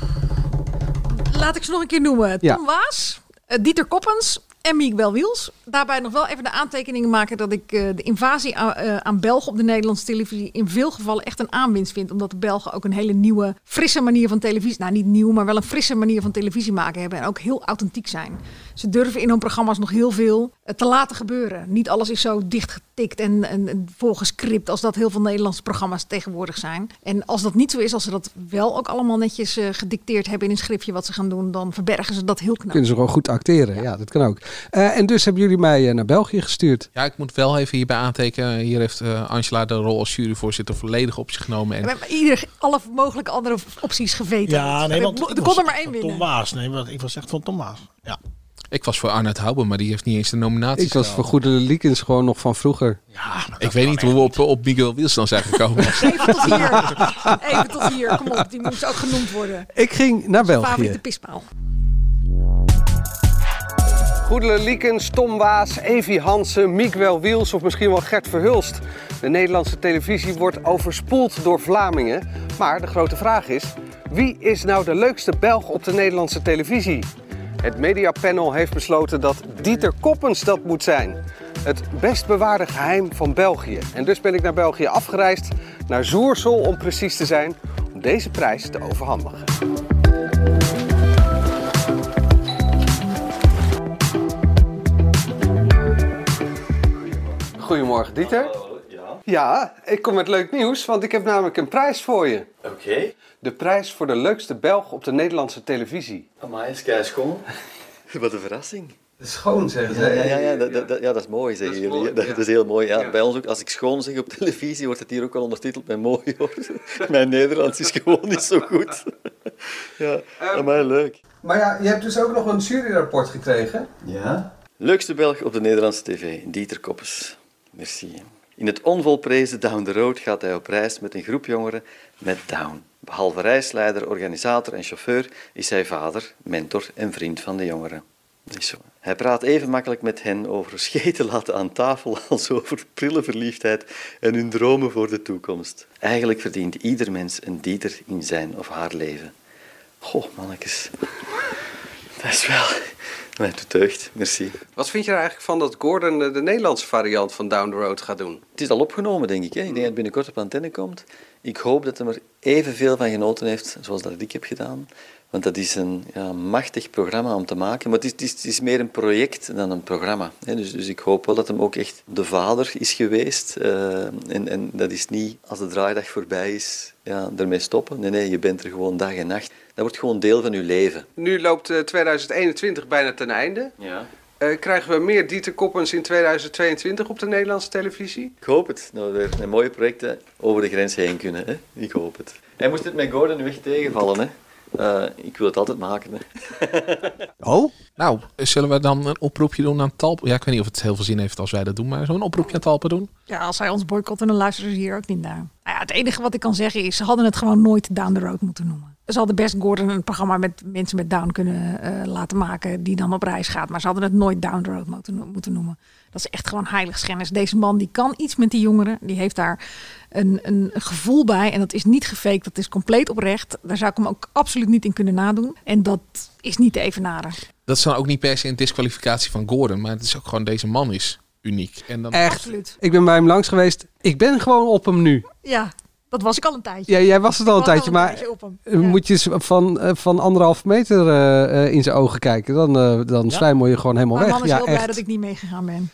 [SPEAKER 10] Laat ik ze nog een keer noemen. Tom
[SPEAKER 2] Ja.
[SPEAKER 10] Waas, eh, Dieter Koppens, en Miek Belwiels. Daarbij nog wel even de aantekeningen maken dat ik eh, de invasie aan, eh, aan Belgen op de Nederlandse televisie in veel gevallen echt een aanwinst vind. Omdat de Belgen ook een hele nieuwe, frisse manier van televisie, nou niet nieuw, maar wel een frisse manier van televisie maken hebben. En ook heel authentiek zijn. Ze durven in hun programma's nog heel veel eh, te laten gebeuren. Niet alles is zo dichtgetikt en, en, en volgescript als dat heel veel Nederlandse programma's tegenwoordig zijn. En als dat niet zo is, als ze dat wel ook allemaal netjes eh, gedicteerd hebben in een schriftje wat ze gaan doen, dan verbergen ze dat heel knap.
[SPEAKER 2] Kunnen ze gewoon goed acteren. Ja, dat kan ook. Eh, en dus hebben jullie mij eh, naar België gestuurd.
[SPEAKER 3] Ja, ik moet wel even hierbij aantekenen. Hier heeft eh, Angela de rol als juryvoorzitter volledig op zich genomen.
[SPEAKER 10] We
[SPEAKER 3] En
[SPEAKER 10] hebben ieder, alle mogelijke andere opties geweten.
[SPEAKER 11] Ja, nee,
[SPEAKER 10] Er
[SPEAKER 11] want
[SPEAKER 10] mo-
[SPEAKER 11] ik
[SPEAKER 10] er
[SPEAKER 11] was
[SPEAKER 10] kon er maar één
[SPEAKER 11] van Tom
[SPEAKER 10] winnen.
[SPEAKER 11] Waas. Nee, want ik was echt van Tom Waas. Ja.
[SPEAKER 3] ik was voor Arnoud Houben, maar die heeft niet eens de nominatie.
[SPEAKER 2] Ik was voor Goede Liekens gewoon nog van vroeger.
[SPEAKER 3] Ik weet niet hoe we op, op Miguel Wiels dan zijn gekomen.
[SPEAKER 10] Even tot hier. Even tot hier. Kom op, die moest ook genoemd worden.
[SPEAKER 2] Ik ging naar België.
[SPEAKER 10] Favoriete pispaal.
[SPEAKER 2] Goedele Liekens, Tom Waas, Evi Hansen, Miguel Wiels of misschien wel Gert Verhulst. De Nederlandse televisie wordt overspoeld door Vlamingen. Maar de grote vraag is, wie is nou de leukste Belg op de Nederlandse televisie? Het mediapanel heeft besloten dat Dieter Koppens dat moet zijn. Het best bewaarde geheim van België. En dus ben ik naar België afgereisd, naar Zoersel om precies te zijn, om deze prijs te overhandigen. Goedemorgen Dieter.
[SPEAKER 6] Ja.
[SPEAKER 2] Ja, ik kom met leuk nieuws, want ik heb namelijk een prijs voor je. Oké. De prijs voor de leukste Belg op de Nederlandse televisie.
[SPEAKER 6] Amai, is kei schoon. Wat een verrassing.
[SPEAKER 2] Schoon zeggen
[SPEAKER 6] Ja, ja, ja, ja, dat, dat- dat- ja, dat is mooi, zeggen jullie. Dat, dat is heel mooi. Ja. Bij ons ook, als ik schoon zeg op televisie, wordt het hier ook al ondertiteld met mooi hoor. Mijn Nederlands is gewoon niet zo goed. ja, amai, leuk.
[SPEAKER 2] Maar ja, je hebt dus ook nog een juryrapport gekregen.
[SPEAKER 6] Ja? Leukste Belg op de Nederlandse tv, Dieter Koppes. Merci. In het onvolprezen Down the Road gaat hij op reis met een groep jongeren met Down. Behalve reisleider, organisator en chauffeur is hij vader, mentor en vriend van de jongeren. Is zo. Hij praat even makkelijk met hen over scheten laten aan tafel als over prille verliefdheid en hun dromen voor de toekomst. Eigenlijk verdient ieder mens een Dieter in zijn of haar leven. Goh, mannetjes. Dat is wel... Mijn deugd, merci.
[SPEAKER 2] Wat vind je er eigenlijk van dat Gordon eh, de Nederlandse variant van Down the Road gaat doen?
[SPEAKER 6] Het is al opgenomen, denk ik. Hè? Ik denk dat het binnenkort op antenne komt. Ik hoop dat hij er evenveel van genoten heeft zoals dat ik heb gedaan. Want dat is een ja, machtig programma om te maken. Maar het is, het is, het is meer een project dan een programma. Hè? Dus, dus ik hoop wel dat hem ook echt de vader is geweest. Eh, en, en dat is niet als de draaidag voorbij is, ja, ermee stoppen. Nee, nee, je bent er gewoon dag en nacht. Dat wordt gewoon deel van je leven.
[SPEAKER 2] Nu loopt eh, 2021 bijna ten einde.
[SPEAKER 6] Ja.
[SPEAKER 2] Eh, krijgen we meer Dieter Koppens in 2022 op de Nederlandse televisie?
[SPEAKER 6] Ik hoop het. Nou, weer een mooie projecten over de grens heen kunnen. Hè? Ik hoop het. Hij moest het met Gordon nu echt tegenvallen. Hè? Eh, ik wil het altijd maken. Hè?
[SPEAKER 2] Oh?
[SPEAKER 3] Nou, zullen we dan een oproepje doen aan Talpa? Ja, ik weet niet of het heel veel zin heeft als wij dat doen, maar zo'n oproepje aan Talpa doen.
[SPEAKER 10] Ja, als zij ons boycotten, dan luisteren ze hier ook niet naar. Nou ja, het enige wat ik kan zeggen is, ze hadden het gewoon nooit Down the Road moeten noemen. Ze hadden best Gordon een programma met mensen met Down kunnen eh, laten maken, die dan op reis gaat. Maar ze hadden het nooit Down the Road moeten, no- moeten noemen. Dat is echt gewoon heiligschennis. Deze man die kan iets met die jongeren. Die heeft daar een, een gevoel bij. En dat is niet gefaked, dat is compleet oprecht. Daar zou ik hem ook absoluut niet in kunnen nadoen. En dat is niet te evenaren.
[SPEAKER 3] Dat is dan ook niet per se een disqualificatie van Gordon, maar het is ook gewoon deze man is uniek. En dan
[SPEAKER 2] Echt? Absoluut. Ik ben bij hem langs geweest. Ik ben gewoon op hem nu.
[SPEAKER 10] Ja, dat was ik al een tijdje.
[SPEAKER 2] Ja, jij was het al een tijdje, maar
[SPEAKER 10] tijdje op hem.
[SPEAKER 2] eh, moet je eens van, eh, van anderhalf meter eh, eh, in zijn ogen kijken. Dan, eh dan sluimel je gewoon helemaal
[SPEAKER 10] Mijn
[SPEAKER 2] weg.
[SPEAKER 10] man is
[SPEAKER 2] ja,
[SPEAKER 10] heel
[SPEAKER 2] echt.
[SPEAKER 10] blij dat ik niet meegegaan ben.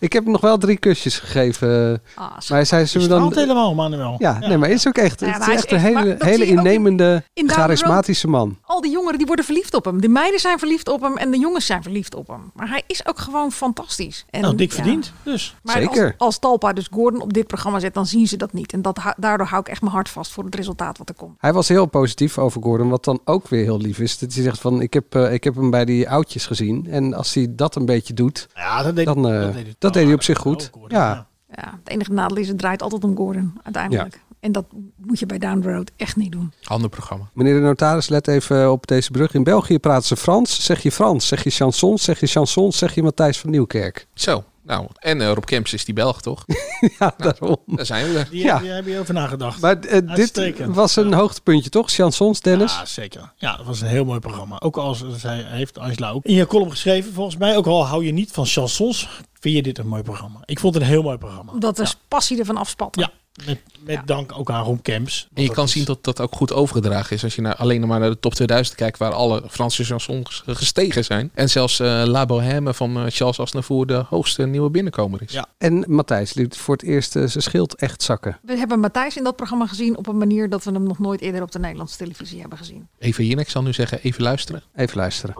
[SPEAKER 2] Ik heb hem nog wel drie kusjes gegeven. eh,
[SPEAKER 10] Ah,
[SPEAKER 2] maar hij zei, zullen we
[SPEAKER 11] straalt
[SPEAKER 2] dan...
[SPEAKER 11] helemaal, Manuel.
[SPEAKER 2] Ja, nee, maar is ook echt,
[SPEAKER 10] Ja, maar
[SPEAKER 2] het is
[SPEAKER 10] hij is
[SPEAKER 2] echt een
[SPEAKER 10] echt- maar
[SPEAKER 2] hele,
[SPEAKER 10] dat
[SPEAKER 2] hele
[SPEAKER 10] zie je ook in-
[SPEAKER 2] innemende,
[SPEAKER 10] in Down the
[SPEAKER 2] charismatische man.
[SPEAKER 10] Al die jongeren die worden verliefd op hem. De meiden zijn verliefd op hem en de jongens zijn verliefd op hem. Maar hij is ook gewoon fantastisch. En,
[SPEAKER 11] nou, dik
[SPEAKER 10] ja.
[SPEAKER 11] verdiend. Dus.
[SPEAKER 10] Maar Als, als Talpa dus Gordon op dit programma zet, dan zien ze dat niet. En dat, hou- daardoor hou ik echt mijn hart vast voor het resultaat wat er komt.
[SPEAKER 2] Hij was heel positief over Gordon, wat dan ook weer heel lief is. Dat hij zegt van, ik heb, eh, ik heb hem bij die oudjes gezien. En als hij dat een beetje doet,
[SPEAKER 11] dat deed,
[SPEAKER 2] dan, eh, dat deed, hij op zich goed. ja.
[SPEAKER 10] Ja, het enige nadeel is, het draait altijd om Gordon uiteindelijk. En dat moet je bij Down the Road echt niet doen.
[SPEAKER 3] Ander programma.
[SPEAKER 2] Meneer de notaris, let even op deze brug. In België praten ze Frans. Zeg je Frans? Zeg je chansons? Zeg je chansons? Zeg je Matthijs van Nieuwkerk?
[SPEAKER 3] Zo, Nou, en eh, Rob Kemps is die Belg, toch? Nou,
[SPEAKER 2] ja, daarom.
[SPEAKER 3] Daar zijn we er.
[SPEAKER 11] Die, die heb je over nagedacht.
[SPEAKER 2] Maar eh, dit
[SPEAKER 11] Uitstekend.
[SPEAKER 2] was een hoogtepuntje, toch? Chansons, Dennis?
[SPEAKER 11] Ja, zeker. Ja, dat was een heel mooi programma. Ook als eh, zij heeft Angela ook in je column geschreven, volgens mij. Ook al hou je niet van chansons, vind je dit een mooi programma. Ik vond het een heel mooi programma.
[SPEAKER 10] Omdat er passie ervan afspat.
[SPEAKER 11] Ja, met, met dank ook aan Ron Kemps.
[SPEAKER 3] En je kan zien dat dat ook goed overgedragen is. Als je naar, alleen maar naar de top 2000 kijkt, waar alle Franse chansons gestegen zijn. En zelfs eh, La Bohème van eh, Charles Aznavour de hoogste nieuwe binnenkomer is.
[SPEAKER 2] En Matthijs liet voor het eerst eh, zijn schild echt zakken.
[SPEAKER 10] We hebben Matthijs in dat programma gezien op een manier dat we hem nog nooit eerder op de Nederlandse televisie hebben gezien.
[SPEAKER 3] Even Jinek zal nu zeggen, even luisteren.
[SPEAKER 2] Even luisteren.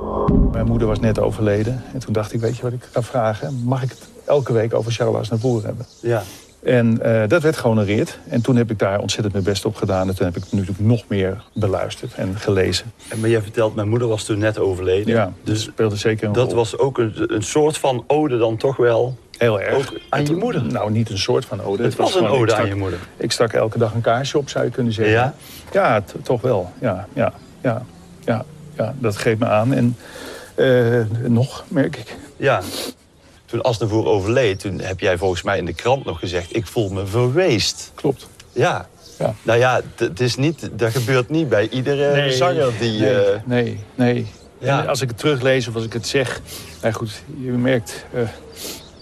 [SPEAKER 8] Mijn moeder was net overleden. En toen dacht ik, weet je wat ik ga vragen? Mag ik het elke week over Charles naar voren hebben?
[SPEAKER 9] Ja.
[SPEAKER 8] En eh, dat werd gehonoreerd. En toen heb ik daar ontzettend mijn best op gedaan. En toen heb ik natuurlijk nog meer beluisterd en gelezen.
[SPEAKER 9] En maar jij vertelt, mijn moeder was toen net overleden.
[SPEAKER 8] Ja, dus speelde zeker een
[SPEAKER 9] Dat
[SPEAKER 8] rol.
[SPEAKER 9] was ook een, een soort van ode dan toch wel.
[SPEAKER 8] Heel erg.
[SPEAKER 9] Ook aan je moeder.
[SPEAKER 8] Nou, niet een soort van ode.
[SPEAKER 9] Het was een
[SPEAKER 8] gewoon, ik
[SPEAKER 9] ode aan
[SPEAKER 8] stak-
[SPEAKER 9] je moeder.
[SPEAKER 8] Ik stak elke dag een kaarsje op, zou je kunnen zeggen.
[SPEAKER 9] Ja?
[SPEAKER 8] Ja, t- toch wel. Ja, ja, ja, ja, ja, dat geeft me aan. En eh, nog, merk ik.
[SPEAKER 9] Ja. Toen Asnevoer overleed, toen heb jij volgens mij in de krant nog gezegd... ik voel me verweest.
[SPEAKER 8] Klopt.
[SPEAKER 9] Ja. Nou ja, d- het is niet, dat gebeurt niet bij iedere zanger Eh, die...
[SPEAKER 8] Nee,
[SPEAKER 9] eh,
[SPEAKER 8] nee, nee.
[SPEAKER 9] Ja.
[SPEAKER 8] En Als ik het teruglees of als ik het zeg... Nou goed, je merkt... eh,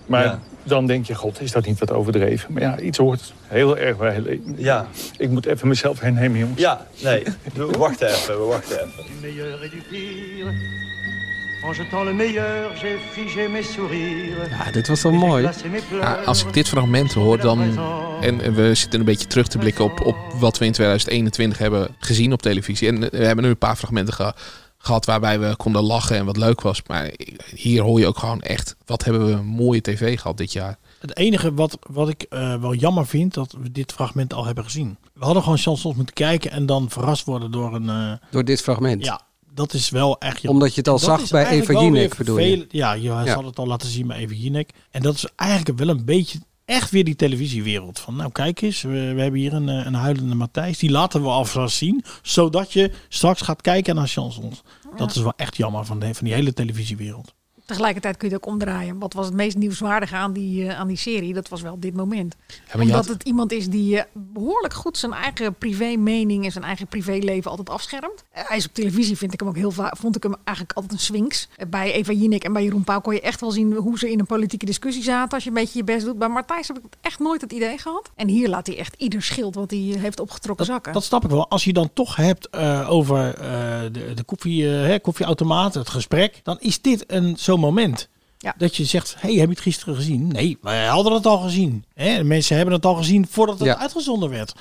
[SPEAKER 8] maar dan denk je, god, is dat niet wat overdreven? Maar ja, iets hoort heel erg bij...
[SPEAKER 9] Ja.
[SPEAKER 8] Ik moet even mezelf hernemen, jongens.
[SPEAKER 9] Ja, nee. We wachten even, we wachten even.
[SPEAKER 12] meilleur et du pire. En jetant le meilleur, j'ai figé mes sourires.
[SPEAKER 3] Ah,
[SPEAKER 2] Ja, dit was wel mooi.
[SPEAKER 3] Ja, als ik dit fragment hoor, dan. En eh, we zitten een beetje terug te blikken op, op wat we in 2021 hebben gezien op televisie. En eh, we hebben nu een paar fragmenten geha- gehad waarbij we konden lachen en wat leuk was. Maar hier hoor je ook gewoon echt. Wat hebben we een mooie tv gehad dit jaar?
[SPEAKER 11] Het enige wat, wat ik eh, wel jammer vind, dat we dit fragment al hebben gezien. We hadden gewoon chansons moeten kijken en dan verrast worden door een... eh,
[SPEAKER 2] Door dit fragment.
[SPEAKER 11] ja, dat is wel echt... jammer.
[SPEAKER 2] Omdat je het al
[SPEAKER 11] En dat
[SPEAKER 2] zag
[SPEAKER 11] is
[SPEAKER 2] bij
[SPEAKER 11] eigenlijk
[SPEAKER 2] Eva
[SPEAKER 11] wel weer
[SPEAKER 2] Jinek, bedoel je?
[SPEAKER 11] vervelend. Ja, je
[SPEAKER 2] Ja.
[SPEAKER 11] zal het al laten zien bij Eva Jinek. En dat is eigenlijk wel een beetje echt weer die televisiewereld. Van nou kijk eens, we, we hebben hier een, eh, een huilende Matthijs. Die laten we alvast zien, zodat je straks gaat kijken naar chansons. Dat is wel echt jammer van, de, van die hele televisiewereld.
[SPEAKER 10] Tegelijkertijd kun je het ook omdraaien. Wat was het meest nieuwswaardige aan die, eh, aan die serie? Dat was wel dit moment.
[SPEAKER 3] je
[SPEAKER 10] Omdat
[SPEAKER 3] had-
[SPEAKER 10] het iemand is die eh, behoorlijk goed zijn eigen privé-mening en zijn eigen privéleven altijd afschermt. Eh, hij is op televisie, vind ik hem ook heel vaak. Vond ik hem eigenlijk altijd een swings. Eh, bij Eva Jinek en bij Jeroen Pauw kon je echt wel zien hoe ze in een politieke discussie zaten. Als je een beetje je best doet. Bij Martijs heb ik echt nooit het idee gehad. En hier laat hij echt ieder schild wat hij eh, heeft opgetrokken zakken.
[SPEAKER 11] Dat snap ik wel. Als je dan toch hebt eh, over eh, de, de koffie, eh, hè, koffieautomaat, het gesprek, dan is dit een zo'n moment. Dat je zegt, hey, heb je het gisteren gezien? Nee, wij hadden het al gezien. Hè? de Mensen hebben het al gezien voordat het
[SPEAKER 2] Ja.
[SPEAKER 11] uitgezonden werd.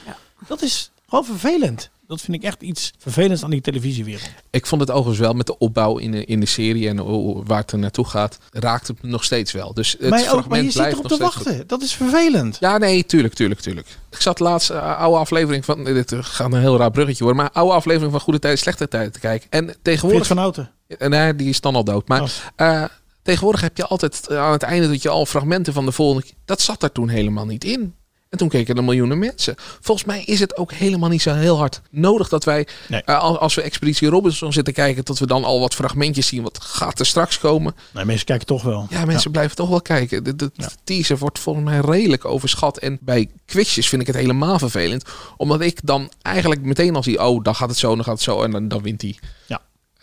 [SPEAKER 11] Dat is gewoon vervelend. Dat vind ik echt iets vervelends aan die televisiewereld.
[SPEAKER 3] Ik vond het overigens wel met de opbouw in de, in de serie en hoe- waar het er naartoe gaat, raakt het me nog steeds wel. Dus
[SPEAKER 11] Maar,
[SPEAKER 3] het
[SPEAKER 11] je
[SPEAKER 3] fragment
[SPEAKER 11] ook, maar je zit
[SPEAKER 3] blijft
[SPEAKER 11] erop
[SPEAKER 3] nog
[SPEAKER 11] te
[SPEAKER 3] steeds
[SPEAKER 11] wachten. Dat is vervelend.
[SPEAKER 3] Ja, nee, tuurlijk, tuurlijk, tuurlijk. Ik zat laatst eh, oude aflevering van. Dit eh, gaat een heel raar bruggetje worden. Maar oude aflevering van Goede Tijden, Slechte Tijden te kijken. En tegenwoordig.
[SPEAKER 11] Frits van Houten.
[SPEAKER 3] Eh, Nee, die is dan al dood.
[SPEAKER 11] Oh.
[SPEAKER 3] Maar eh, tegenwoordig heb je altijd eh, aan het einde dat je al fragmenten van de volgende. keer- Dat zat er toen helemaal niet in. En toen keken er miljoenen mensen. Volgens mij is het ook helemaal niet zo heel hard nodig dat wij, eh, al- als we Expeditie Robinson zitten kijken, dat we dan al wat fragmentjes zien. Wat gaat er straks komen?
[SPEAKER 11] Nee, mensen kijken toch wel.
[SPEAKER 3] Ja, mensen blijven toch wel kijken. De, de teaser wordt volgens mij redelijk overschat. En bij quizjes vind ik het helemaal vervelend. Omdat ik dan eigenlijk meteen al zie... oh, dan gaat het zo, dan gaat het zo en dan, dan wint hij. Eh,
[SPEAKER 11] Ja.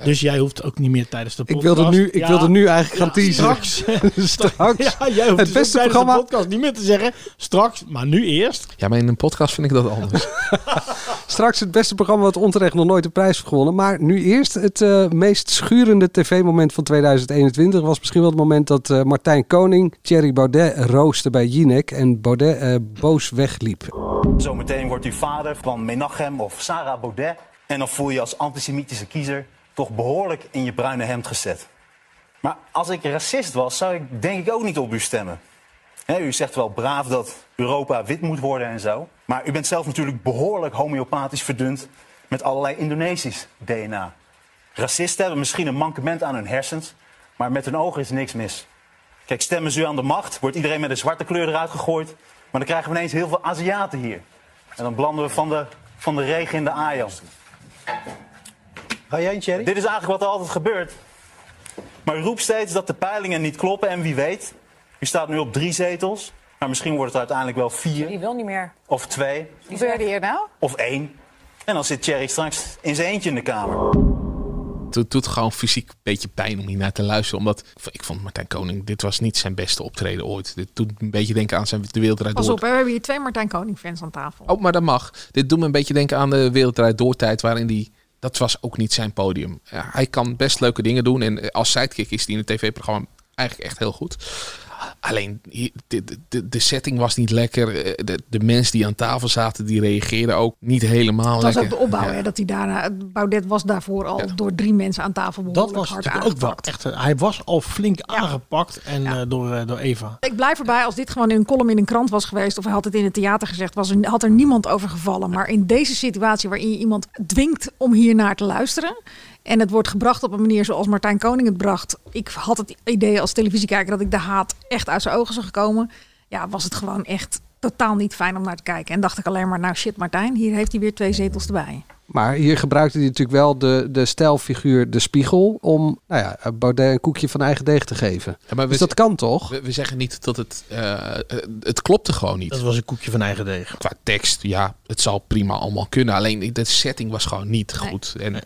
[SPEAKER 11] Dus jij hoeft ook niet meer tijdens de
[SPEAKER 3] Ik
[SPEAKER 11] podcast.
[SPEAKER 3] wilde nu- ik wilde nu eigenlijk gaan teaseren.
[SPEAKER 11] Straks. straks. Ja, jij hoeft het beste programma. de podcast niet meer te zeggen. Straks, maar nu eerst.
[SPEAKER 3] Ja, maar in een podcast vind ik dat anders.
[SPEAKER 2] Straks het beste programma wat onterecht nog nooit een prijs heeft gewonnen. Maar nu eerst het eh, meest schurende tv-moment van 2021 was misschien wel het moment dat eh, Martijn Koning Thierry Baudet rooste bij Jinek. En Baudet eh, boos wegliep.
[SPEAKER 13] Zometeen wordt u vader van Menachem of Sarah Baudet. En dan voel je als antisemitische kiezer toch behoorlijk in je bruine hemd gezet. Maar als ik racist was, zou ik denk ik ook niet op u stemmen. Hè, u zegt wel braaf dat Europa wit moet worden en zo. Maar u bent zelf natuurlijk behoorlijk homeopathisch verdund met allerlei Indonesisch DNA. Racisten hebben misschien een mankement aan hun hersens, maar met hun ogen is niks mis. Kijk, stemmen ze u aan de macht, wordt iedereen met een zwarte kleur eruit gegooid. Maar dan krijgen we ineens heel veel Aziaten hier. En dan belanden we van de, van de regen in de Ajan. Ga jij in, Thierry? Dit is eigenlijk wat er altijd gebeurt. Maar u roept steeds dat de peilingen niet kloppen en wie weet... Je staat nu op drie zetels. Maar misschien wordt het uiteindelijk wel vier
[SPEAKER 26] Die wil niet meer.
[SPEAKER 13] of twee
[SPEAKER 26] Wat gebeurde hier nou?
[SPEAKER 13] of één. En dan zit Thierry straks in zijn eentje in de kamer.
[SPEAKER 3] Het doet gewoon fysiek een beetje pijn om hiernaar te luisteren. Omdat ik vond Martijn Koning, dit was niet zijn beste optreden ooit. Dit doet een beetje denken aan zijn De Wereld Draait
[SPEAKER 10] Pas
[SPEAKER 3] Door.
[SPEAKER 10] op, hè, we hebben hier twee Martijn Koning fans aan tafel.
[SPEAKER 3] Oh, maar dat mag. Dit doet me een beetje denken aan de Wereldrijd Doortijd, waarin die dat was ook niet zijn podium. Ja, hij kan best leuke dingen doen en eh, als sidekick is hij in het tv-programma eigenlijk echt heel goed. Alleen hier- de, de- de, de setting was niet lekker. Eh, De, de mensen die aan tafel zaten, die reageerden ook niet helemaal
[SPEAKER 10] Het was ook
[SPEAKER 3] Oh, lekker.
[SPEAKER 10] de opbouw,
[SPEAKER 3] Ja.
[SPEAKER 10] hè, dat hij daarna... Baudet was daarvoor al door drie mensen aan tafel
[SPEAKER 11] Dat
[SPEAKER 10] behoorlijk
[SPEAKER 11] was
[SPEAKER 10] hard
[SPEAKER 11] natuurlijk ook wel
[SPEAKER 10] aangepakt.
[SPEAKER 11] echt. eh, Hij was al flink aangepakt en, eh, door, eh, door Eva.
[SPEAKER 10] Ik blijf erbij, als dit gewoon in een column in een krant was geweest... of hij had het in het theater gezegd, was er, had er niemand over gevallen. Maar in deze situatie waarin je iemand dwingt om hiernaar te luisteren... en het wordt gebracht op een manier zoals Martijn Koning het bracht... ik had het idee als televisiekijker dat ik de haat echt uit zijn ogen zag komen... ja, was het gewoon echt totaal niet fijn om naar te kijken. En dacht ik alleen maar, nou shit Martijn, hier heeft hij weer twee zetels erbij.
[SPEAKER 2] Maar hier gebruikte hij natuurlijk wel de, de stijlfiguur, de spiegel, om nou ja, Baudet een koekje van eigen deeg te geven.
[SPEAKER 3] maar we
[SPEAKER 2] dus dat
[SPEAKER 3] z-
[SPEAKER 2] kan toch?
[SPEAKER 3] We, we zeggen niet dat het... eh, eh, het klopte gewoon niet.
[SPEAKER 11] Dat was een koekje van eigen deeg.
[SPEAKER 3] Qua tekst, ja, het zal prima allemaal kunnen. Alleen de setting was gewoon niet goed en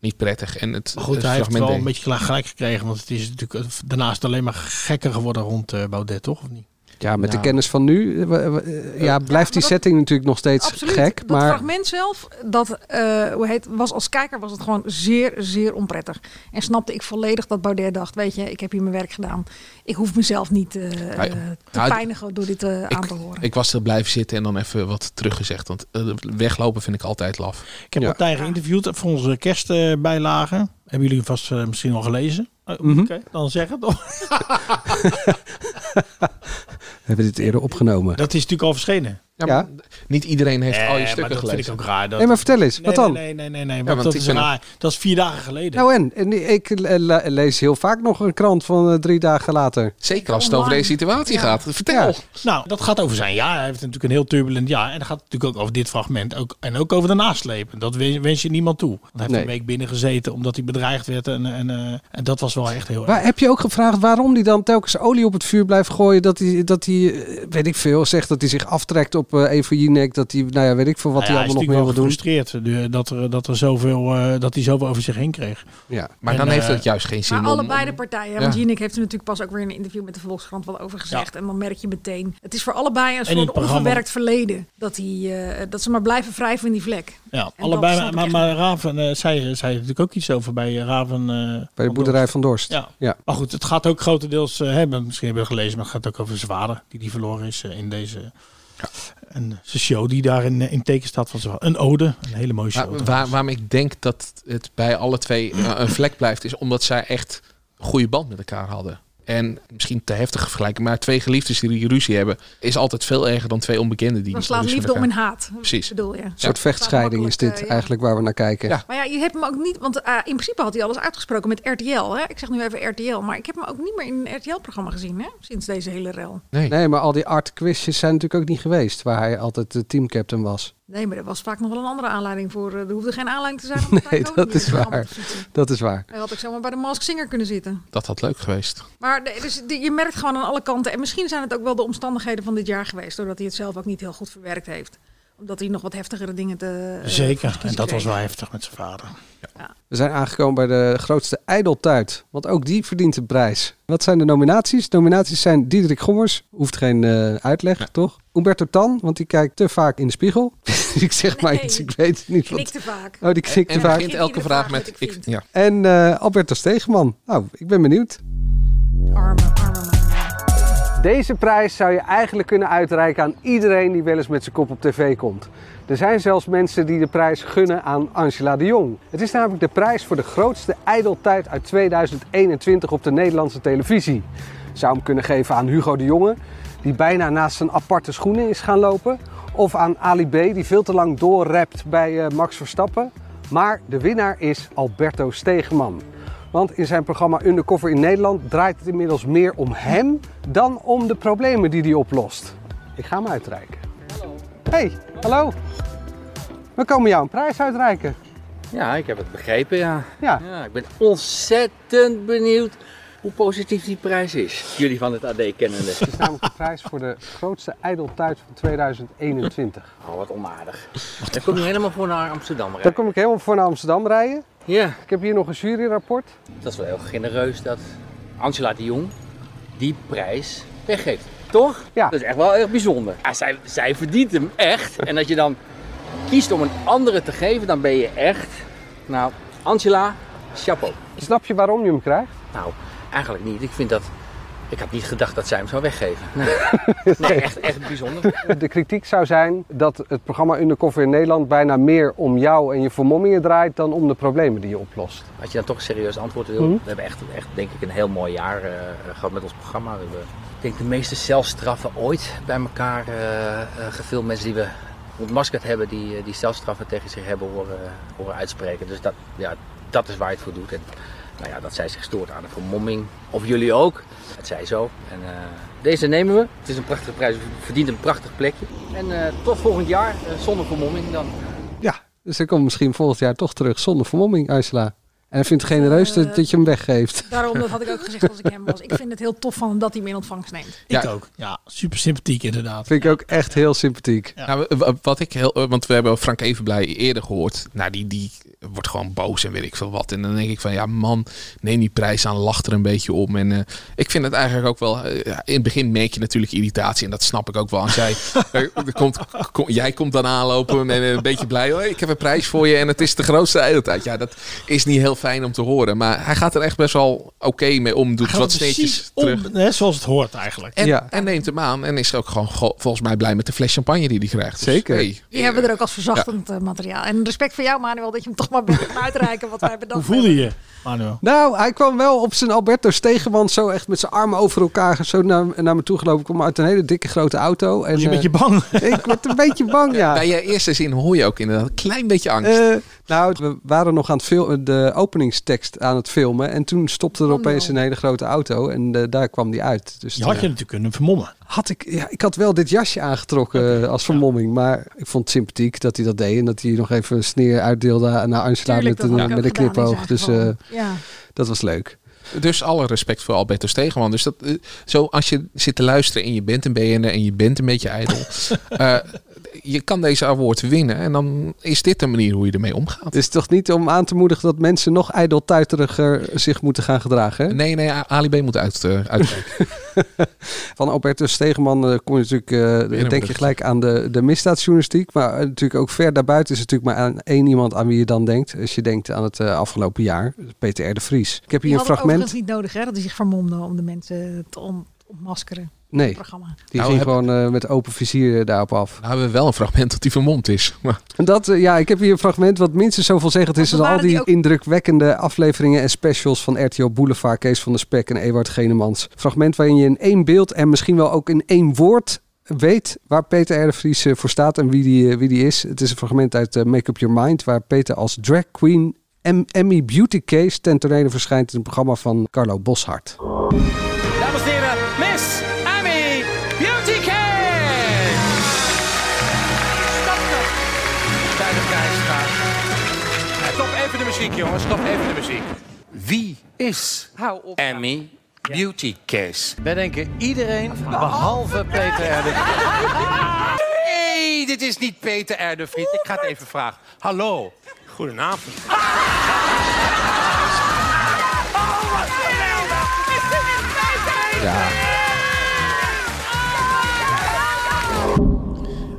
[SPEAKER 3] niet prettig. En het,
[SPEAKER 11] Maar goed,
[SPEAKER 3] het
[SPEAKER 11] Dus hij heeft
[SPEAKER 3] fragment
[SPEAKER 11] wel
[SPEAKER 3] deed-
[SPEAKER 11] een beetje gelijk- gelijk gekregen. Want het is natuurlijk eh, daarnaast alleen maar gekker geworden rond eh, Baudet, toch? Of niet?
[SPEAKER 2] Ja, met de
[SPEAKER 11] Nou.
[SPEAKER 2] kennis van nu eh, we- we- eh, ja, blijft die setting natuurlijk nog steeds
[SPEAKER 10] Absoluut.
[SPEAKER 2] gek.
[SPEAKER 10] dat
[SPEAKER 2] Maar
[SPEAKER 10] fragment zelf, dat, eh, hoe heet, was als kijker was het gewoon zeer, zeer onprettig. En snapte ik volledig dat Baudet dacht, weet je, ik heb hier mijn werk gedaan. Ik hoef mezelf niet eh, eh, te
[SPEAKER 3] nou,
[SPEAKER 10] pijnigen door dit eh, aan te horen.
[SPEAKER 3] Ik was er blijven zitten en dan even wat teruggezegd. Want eh, weglopen vind ik altijd laf.
[SPEAKER 11] Ik heb Martijn geïnterviewd voor onze kerstbijlagen. Hebben jullie vast eh, misschien al gelezen? Oh, Oké,
[SPEAKER 2] Mhm.
[SPEAKER 11] dan zeg het.
[SPEAKER 2] we hebben dit eerder opgenomen.
[SPEAKER 11] Dat is natuurlijk al verschenen.
[SPEAKER 3] Ja, maar Niet iedereen heeft
[SPEAKER 11] Nee,
[SPEAKER 3] al je
[SPEAKER 11] Eh, maar
[SPEAKER 3] stukken
[SPEAKER 11] dat vind
[SPEAKER 3] gelezen.
[SPEAKER 11] ik ook raar. Dat...
[SPEAKER 2] Nee, maar vertel eens,
[SPEAKER 11] Nee,
[SPEAKER 2] wat
[SPEAKER 11] nee,
[SPEAKER 2] dan?
[SPEAKER 11] Nee, nee, nee, nee,
[SPEAKER 2] Ja,
[SPEAKER 11] want
[SPEAKER 2] want
[SPEAKER 11] dat
[SPEAKER 2] ik
[SPEAKER 11] is
[SPEAKER 2] ben-
[SPEAKER 11] raar. Dat is vier dagen geleden.
[SPEAKER 2] Nou en, en ik eh, la- lees heel vaak nog een krant van eh, drie dagen later.
[SPEAKER 3] Zeker als het over deze situatie gaat. Vertel.
[SPEAKER 11] Nou, dat gaat over zijn jaar. Hij heeft natuurlijk een heel turbulent jaar. En dat gaat natuurlijk ook over dit fragment. Ook, en ook over de naslepen. Dat wens wens je niemand toe. Want hij heeft
[SPEAKER 2] Nee.
[SPEAKER 11] een week binnen gezeten omdat hij bedreigd werd. En, en, eh, en dat was wel echt heel erg.
[SPEAKER 2] Waar, heb je ook gevraagd waarom hij dan telkens olie op het vuur blijft gooien? Dat hij, dat hij eh, weet ik veel, zegt dat hij zich aftrekt op eh Evo Jinek. Dat hij, nou ja, weet ik veel wat
[SPEAKER 11] Nou ja,
[SPEAKER 2] hij allemaal nog meer wil
[SPEAKER 11] Hij
[SPEAKER 2] doen.
[SPEAKER 11] is natuurlijk wel gefrustreerd eh, dat, er, dat, er zoveel, eh, dat hij zoveel over zich heen kreeg. eh,
[SPEAKER 2] Ja.
[SPEAKER 3] Maar dan heeft het juist geen zin
[SPEAKER 10] Maar
[SPEAKER 3] om-
[SPEAKER 10] allebei de partijen. hè,
[SPEAKER 11] Ja.
[SPEAKER 10] Want Jinek heeft er natuurlijk pas ook weer in een interview met de Volkskrant wat over gezegd. En dan merk je meteen. Het is voor allebei een
[SPEAKER 11] in het
[SPEAKER 10] soort
[SPEAKER 11] programma.
[SPEAKER 10] onverwerkt verleden. Dat, hij, eh, dat ze maar blijven wrijven in die vlek.
[SPEAKER 11] Ja,
[SPEAKER 10] dat
[SPEAKER 11] allebei.
[SPEAKER 10] snap
[SPEAKER 11] Maar,
[SPEAKER 10] ik
[SPEAKER 11] maar,
[SPEAKER 10] echt
[SPEAKER 11] maar Raven eh, zei, zei natuurlijk ook iets over bij eh, Raven. eh,
[SPEAKER 2] Bij de boerderij van Dorst.
[SPEAKER 11] Ja. Maar goed, het gaat ook grotendeels eh, hebben. Misschien hebben we gelezen, maar het gaat ook over zijn vader die die verloren is eh, in deze. En zijn show die daar in, eh, in teken staat van zijn vader. Een ode, een hele mooie show.
[SPEAKER 3] Maar waar, waarom ik denk dat het bij alle twee eh, een vlek blijft, is omdat zij echt een goede band met elkaar hadden. En misschien te heftig vergelijken, maar twee geliefdes die ruzie hebben, is altijd veel erger dan twee onbekenden die.
[SPEAKER 10] Dan slaat
[SPEAKER 3] ruzie
[SPEAKER 10] liefde om
[SPEAKER 3] met
[SPEAKER 10] en
[SPEAKER 3] elkaar-
[SPEAKER 10] haat.
[SPEAKER 3] dus Precies.
[SPEAKER 10] Bedoel je?
[SPEAKER 2] Een soort vechtscheiding is dit
[SPEAKER 10] eh, ja.
[SPEAKER 2] eigenlijk waar we naar kijken.
[SPEAKER 10] Maar ja, je hebt hem ook niet, want eh, in principe had hij alles uitgesproken met RTL. Hè? Ik zeg nu even RTL, maar ik heb hem ook niet meer in een RTL-programma gezien hè? sinds deze hele rel.
[SPEAKER 3] Nee.
[SPEAKER 2] maar al die art quizjes zijn natuurlijk ook niet geweest, waar hij altijd de teamcaptain was.
[SPEAKER 10] Nee, maar er was vaak nog wel een andere aanleiding voor. eh, Er hoefde geen aanleiding te zijn. om Martijn
[SPEAKER 2] Nee,
[SPEAKER 10] Koning
[SPEAKER 2] dat
[SPEAKER 10] in
[SPEAKER 2] is
[SPEAKER 10] het programma
[SPEAKER 2] waar.
[SPEAKER 10] te fietsen.
[SPEAKER 2] Dat is waar.
[SPEAKER 10] Hij had ook zomaar bij de Mask Singer kunnen zitten.
[SPEAKER 3] Dat had leuk geweest.
[SPEAKER 10] Maar de- dus, de- je merkt gewoon aan alle kanten. En misschien zijn het ook wel de omstandigheden van dit jaar geweest. Doordat hij het zelf ook niet heel goed verwerkt heeft. Omdat hij nog wat heftigere dingen te. eh, voor
[SPEAKER 11] Zeker.
[SPEAKER 10] zijn
[SPEAKER 11] En
[SPEAKER 10] kiezen
[SPEAKER 11] dat was
[SPEAKER 10] kreeg.
[SPEAKER 11] wel heftig met zijn vader.
[SPEAKER 2] We zijn aangekomen bij de grootste ijdeltuit, want ook die verdient een prijs. Wat zijn de nominaties? De nominaties zijn Diederik Gommers, hoeft geen eh, uitleg, toch? Humberto Tan, want die kijkt te vaak in de spiegel. ik zeg maar iets, ik weet het niet.
[SPEAKER 10] Knikt te vaak.
[SPEAKER 2] Oh, die knikt te
[SPEAKER 3] en
[SPEAKER 2] vaak.
[SPEAKER 3] begint elke vraag met. Ik, ja.
[SPEAKER 2] En eh Alberto Stegeman. Nou, ik ben benieuwd. Deze prijs zou je eigenlijk kunnen uitreiken aan iedereen die wel eens met zijn kop op tv komt. Er zijn zelfs mensen die de prijs gunnen aan Angela de Jong. Het is namelijk de prijs voor de grootste ijdeltijd uit 2021 op de Nederlandse televisie. Zou hem kunnen geven aan Hugo de Jonge, die bijna naast zijn aparte schoenen is gaan lopen. Of aan Ali B, die veel te lang doorrept bij eh, Max Verstappen. Maar de winnaar is Alberto Stegeman. Want in zijn programma Undercover in Nederland draait het inmiddels meer om hem dan om de problemen die hij oplost. Ik ga hem uitreiken. Hey, hallo. We komen jou een prijs uitreiken.
[SPEAKER 27] Ja, ik heb het begrepen, ja.
[SPEAKER 2] Ja.
[SPEAKER 27] ik ben ontzettend benieuwd
[SPEAKER 26] hoe positief die prijs is. Jullie van het AD kennende.
[SPEAKER 2] Het is namelijk de prijs voor de grootste ijdeltuit van 2021.
[SPEAKER 26] Oh, wat onaardig. Dan kom je helemaal voor naar Amsterdam
[SPEAKER 2] Daar
[SPEAKER 26] rijden.
[SPEAKER 2] kom ik helemaal voor naar Amsterdam rijden.
[SPEAKER 26] Ja.
[SPEAKER 2] Ik heb hier nog een juryrapport.
[SPEAKER 26] Dat is wel heel genereus dat Angela de Jong die prijs weggeeft. Toch? Ja. Dat is echt wel erg bijzonder. Ja, zij, zij verdient hem echt. en dat je dan kiest om een andere te geven, dan ben je echt... Nou, Angela, chapeau.
[SPEAKER 2] Snap je waarom je hem krijgt?
[SPEAKER 26] Nou, eigenlijk niet. Ik vind dat... Ik had niet gedacht dat zij hem zou weggeven. Nee, nee echt, echt bijzonder.
[SPEAKER 2] De kritiek zou zijn dat het programma Undercover in Nederland bijna meer om jou en je vermommingen draait dan om de problemen die je oplost.
[SPEAKER 26] Als je dan toch een serieus antwoord wil,
[SPEAKER 2] Mhm.
[SPEAKER 26] we hebben echt, echt denk ik een heel mooi jaar eh, gehad met ons programma. We hebben, ik denk de meeste zelfstraffen ooit bij elkaar eh, eh, gefilmd. Mensen die we ontmaskerd hebben, die, eh, die zelfstraffen tegen zich hebben horen, horen uitspreken. Dus dat, ja, dat is waar je het voor doet. En, nou ja, dat zij zich stoort aan de vermomming. Of jullie ook. Het zij zo. En, eh, deze nemen we. Het is een prachtige prijs. Het verdient een prachtig plekje. En eh, tot volgend jaar eh, zonder vermomming dan.
[SPEAKER 2] Dus ik kom misschien volgend jaar toch terug zonder vermomming, Ursula. En vindt het genereus dat, dat je hem weggeeft.
[SPEAKER 10] Eh, Daarom, dat had ik ook gezegd als ik hem was. Ik vind het heel tof van hem dat hij me in ontvangst neemt.
[SPEAKER 11] Ik ook. Ja, super sympathiek inderdaad.
[SPEAKER 2] Vind ik ook echt heel sympathiek.
[SPEAKER 3] Nou, w- w- wat ik heel, eh, want we hebben Frank Evenblij eerder gehoord. Nou, die, die wordt gewoon boos en weet ik veel wat. En dan denk ik van, ja man, neem die prijs aan, lach er een beetje om. En eh, ik vind het eigenlijk ook wel, eh, ja, in het begin merk je natuurlijk irritatie. En dat snap ik ook wel. Als jij, eh, er komt, kom- jij komt dan aanlopen en eh, een beetje blij. "Hoi, ik heb een prijs voor je en het is de grootste ijdeltijd. Ja, dat is niet heel fijn om te horen. Maar hij gaat er echt best wel oké mee om. Doet
[SPEAKER 11] Gaat
[SPEAKER 3] wat
[SPEAKER 11] precies
[SPEAKER 3] steentjes
[SPEAKER 11] om,
[SPEAKER 3] terug.
[SPEAKER 11] Hè, zoals het hoort eigenlijk.
[SPEAKER 3] En, en neemt hem aan en is ook gewoon go- volgens mij blij met de fles champagne die hij krijgt. Dus
[SPEAKER 2] Zeker.
[SPEAKER 10] Die hebben we er ook als verzachtend eh, materiaal. En respect voor jou, Manuel, dat je hem toch maar bent gaan uitreiken wat wij bedacht
[SPEAKER 11] voelde je, Manuel?
[SPEAKER 2] Nou, hij kwam wel op zijn Alberto Stegenman zo echt met zijn armen over elkaar zo naar, naar me toe gelopen. Ik kwam uit een hele dikke grote auto. En,
[SPEAKER 11] je een
[SPEAKER 2] eh,
[SPEAKER 11] beetje bang?
[SPEAKER 2] Ik werd een beetje bang, ja.
[SPEAKER 3] Bij je eerste zin hoor je ook inderdaad een klein beetje angst.
[SPEAKER 2] Eh, nou, we waren nog aan het fil- de openingstekst aan het filmen. En toen stopte
[SPEAKER 3] Oh,
[SPEAKER 2] er opeens een hele grote auto. En eh, daar kwam die uit. Dus
[SPEAKER 11] Je had
[SPEAKER 2] eh,
[SPEAKER 11] je natuurlijk kunnen vermommen.
[SPEAKER 2] Had ik, ja, ik had wel dit jasje aangetrokken eh, als vermomming. Maar ik vond het sympathiek dat hij dat deed. En dat hij nog even een sneer uitdeelde naar Angela
[SPEAKER 10] Tuurlijk, dat
[SPEAKER 2] met
[SPEAKER 10] had
[SPEAKER 2] een,
[SPEAKER 10] ik
[SPEAKER 2] met een
[SPEAKER 10] ook gedaan in zijn
[SPEAKER 2] knipoog. Dus
[SPEAKER 10] geval.
[SPEAKER 2] eh,
[SPEAKER 10] Ja.
[SPEAKER 2] dat was leuk.
[SPEAKER 3] Dus alle respect voor Alberto Stegeman. Dus dat, eh, zo als je zit te luisteren en je bent een BN'er en je bent een beetje ijdel. eh, je kan deze award winnen en dan is dit de manier hoe je ermee omgaat.
[SPEAKER 2] Het is toch niet om aan te moedigen dat mensen nog ijdeltuiteriger zich moeten gaan gedragen? Hè?
[SPEAKER 3] Nee, nee, Ali B moet uit, eh, uitkijken.
[SPEAKER 2] Van Albertus Stegeman eh, kom je natuurlijk, eh, denk je
[SPEAKER 3] brugje.
[SPEAKER 2] gelijk aan de, de misdaadjournalistiek. Maar eh, natuurlijk ook ver daarbuiten is het natuurlijk maar aan één iemand aan wie je dan denkt. Als je denkt aan het eh, afgelopen jaar, Peter R. de Vries. Ik heb
[SPEAKER 10] Die
[SPEAKER 2] hier een
[SPEAKER 10] had het overigens
[SPEAKER 2] fragment.
[SPEAKER 10] niet nodig, hè, dat hij zich vermomde om de mensen te on- ontmaskeren.
[SPEAKER 2] Nee,
[SPEAKER 10] Het programma.
[SPEAKER 2] die
[SPEAKER 3] Nou,
[SPEAKER 2] ging
[SPEAKER 3] heb-
[SPEAKER 2] gewoon eh, met open vizier eh, daarop af.
[SPEAKER 3] Nou, we hebben wel een fragment dat hij vermomd is. Maar
[SPEAKER 2] En Dat, eh, ja, ik heb hier een fragment wat minstens zoveel zeggend is
[SPEAKER 10] we
[SPEAKER 2] als al
[SPEAKER 10] waren
[SPEAKER 2] die
[SPEAKER 10] die ook-
[SPEAKER 2] indrukwekkende afleveringen en specials van RTO Boulevard, Kees van der Spek en Ewart Genemans. Fragment waarin je in één beeld en misschien wel ook in één woord weet waar Peter R. de Vries eh, voor staat en wie die, eh, wie die is. Het is een fragment uit eh, Make Up Your Mind, waar Peter als drag queen em- Emmy Beauty Case ten tonele verschijnt in het programma van Carlo Boshart.
[SPEAKER 27] Dames en heren, Miss Amy Beauty King! Stop er! Bij de prijsvraag. Ja, Stop even de muziek, jongens. Stop even de muziek. Wie is Amy Beauty Case? Wij denken iedereen, behalve Peter R. de Vries. Nee, dit is niet Peter R. de Vries. Ik ga het even vragen. Hallo. Goedenavond.
[SPEAKER 3] ja.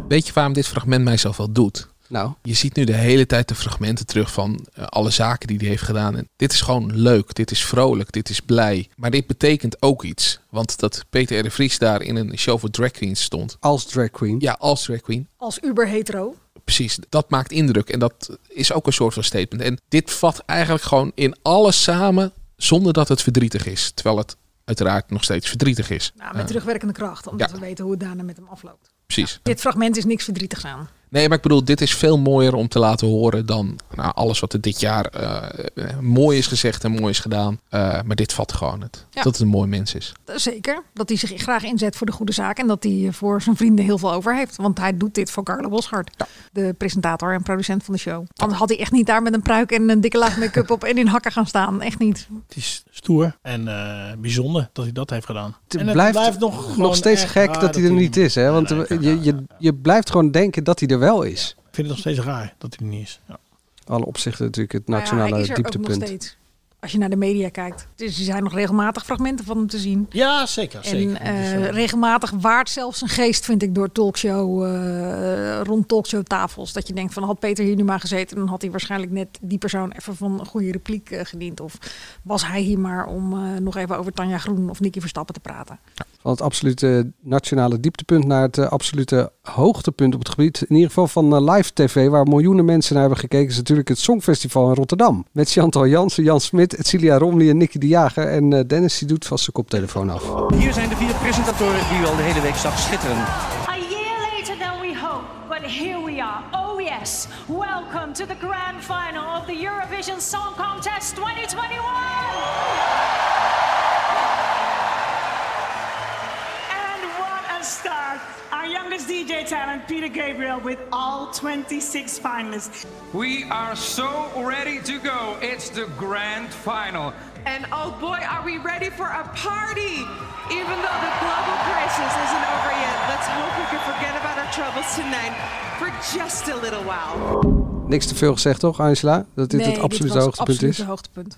[SPEAKER 3] Weet je waarom dit fragment mij zoveel doet?
[SPEAKER 2] Nou.
[SPEAKER 3] Je ziet nu de hele tijd de fragmenten terug van eh, alle zaken die hij heeft gedaan. En dit is gewoon leuk, dit is vrolijk, dit is blij. Maar dit betekent ook iets. Want dat Peter R. de Vries daar in een show voor drag queens stond.
[SPEAKER 2] Als drag queen.
[SPEAKER 3] Ja, als drag queen.
[SPEAKER 10] Als uber hetero.
[SPEAKER 3] Precies, dat maakt indruk. En dat is ook een soort van statement. En dit vat eigenlijk gewoon in alles samen zonder dat het verdrietig is. Terwijl het uiteraard nog steeds verdrietig is.
[SPEAKER 10] Nou, met
[SPEAKER 3] Eh,
[SPEAKER 10] terugwerkende kracht, omdat
[SPEAKER 3] Ja.
[SPEAKER 10] we weten hoe het daarna met hem afloopt.
[SPEAKER 3] precies.
[SPEAKER 10] Dit fragment is niks verdrietigs aan.
[SPEAKER 3] Nee, maar ik bedoel, dit is veel mooier om te laten horen dan nou, alles wat er dit jaar eh, eh, mooi is gezegd en mooi is gedaan. Eh, maar dit vat gewoon het.
[SPEAKER 10] Ja.
[SPEAKER 3] Dat het een mooi mens is.
[SPEAKER 10] Eh, Zeker. Dat hij zich graag inzet voor de goede zaak. En dat hij eh, voor zijn vrienden heel veel over heeft. Want hij doet dit voor Carlo Boshart. De presentator en producent van de show. Anders had hij echt niet daar met een pruik en een dikke laag make-up op en in hakken gaan staan. Echt niet.
[SPEAKER 11] Het is stoer en eh, bijzonder dat hij dat heeft gedaan. en het nog,
[SPEAKER 2] blijft, nog,
[SPEAKER 11] gewoon
[SPEAKER 2] steeds
[SPEAKER 11] echt
[SPEAKER 2] gek
[SPEAKER 11] raar
[SPEAKER 2] dat, hij er niet is. Hè? Want je, je, je blijft gewoon denken dat hij er wel is.
[SPEAKER 11] Ik vind het nog steeds raar dat hij er niet is. Ja.
[SPEAKER 2] Alle opzichten natuurlijk het
[SPEAKER 10] Nou ja,
[SPEAKER 2] nationale
[SPEAKER 10] hij is er ook nog
[SPEAKER 2] dieptepunt.
[SPEAKER 10] steeds. Als je naar de media kijkt. Dus er zijn nog regelmatig fragmenten van hem te zien.
[SPEAKER 11] Ja, zeker.
[SPEAKER 10] En
[SPEAKER 11] zeker.
[SPEAKER 10] eh,
[SPEAKER 11] Dus, eh,
[SPEAKER 10] regelmatig waard zelfs een geest, vind ik, door talkshow, eh, rond talkshowtafels. Dat je denkt van, had Peter hier nu maar gezeten... dan had hij waarschijnlijk net die persoon even van een goede repliek eh, gediend. Of was hij hier maar om eh, nog even over Tanja Groen of Nicky Verstappen te praten.
[SPEAKER 2] Van het absolute nationale dieptepunt naar het eh, absolute hoogtepunt op het gebied. In ieder geval van eh, live tv, waar miljoenen mensen naar hebben gekeken, is natuurlijk het Songfestival in Rotterdam. Met Chantal Jansen, Jan Smit, Celia Romli en Nicky de Jager. En eh, Dennis die doet vast zijn koptelefoon af.
[SPEAKER 18] Hier zijn de vier presentatoren die u al de hele week zag schitteren.
[SPEAKER 19] A year later than we hoped, but here we are. Oh yes, welcome to the grand final of the Eurovision Song Contest 2021. And what a start! Our youngest DJ talent, Peter Gabriel, with all 26 finalists.
[SPEAKER 20] We are so ready to go. It's the grand final.
[SPEAKER 21] And oh boy, are we ready for a party! Even though the global crisis isn't over yet, let's hope we can forget about our troubles tonight for just a little while.
[SPEAKER 2] Niks te veel gezegd toch, Angela? Dat dit
[SPEAKER 10] Nee,
[SPEAKER 2] het absolute
[SPEAKER 10] was
[SPEAKER 2] hoogtepunt
[SPEAKER 10] absoluut
[SPEAKER 2] is?
[SPEAKER 10] het hoogtepunt.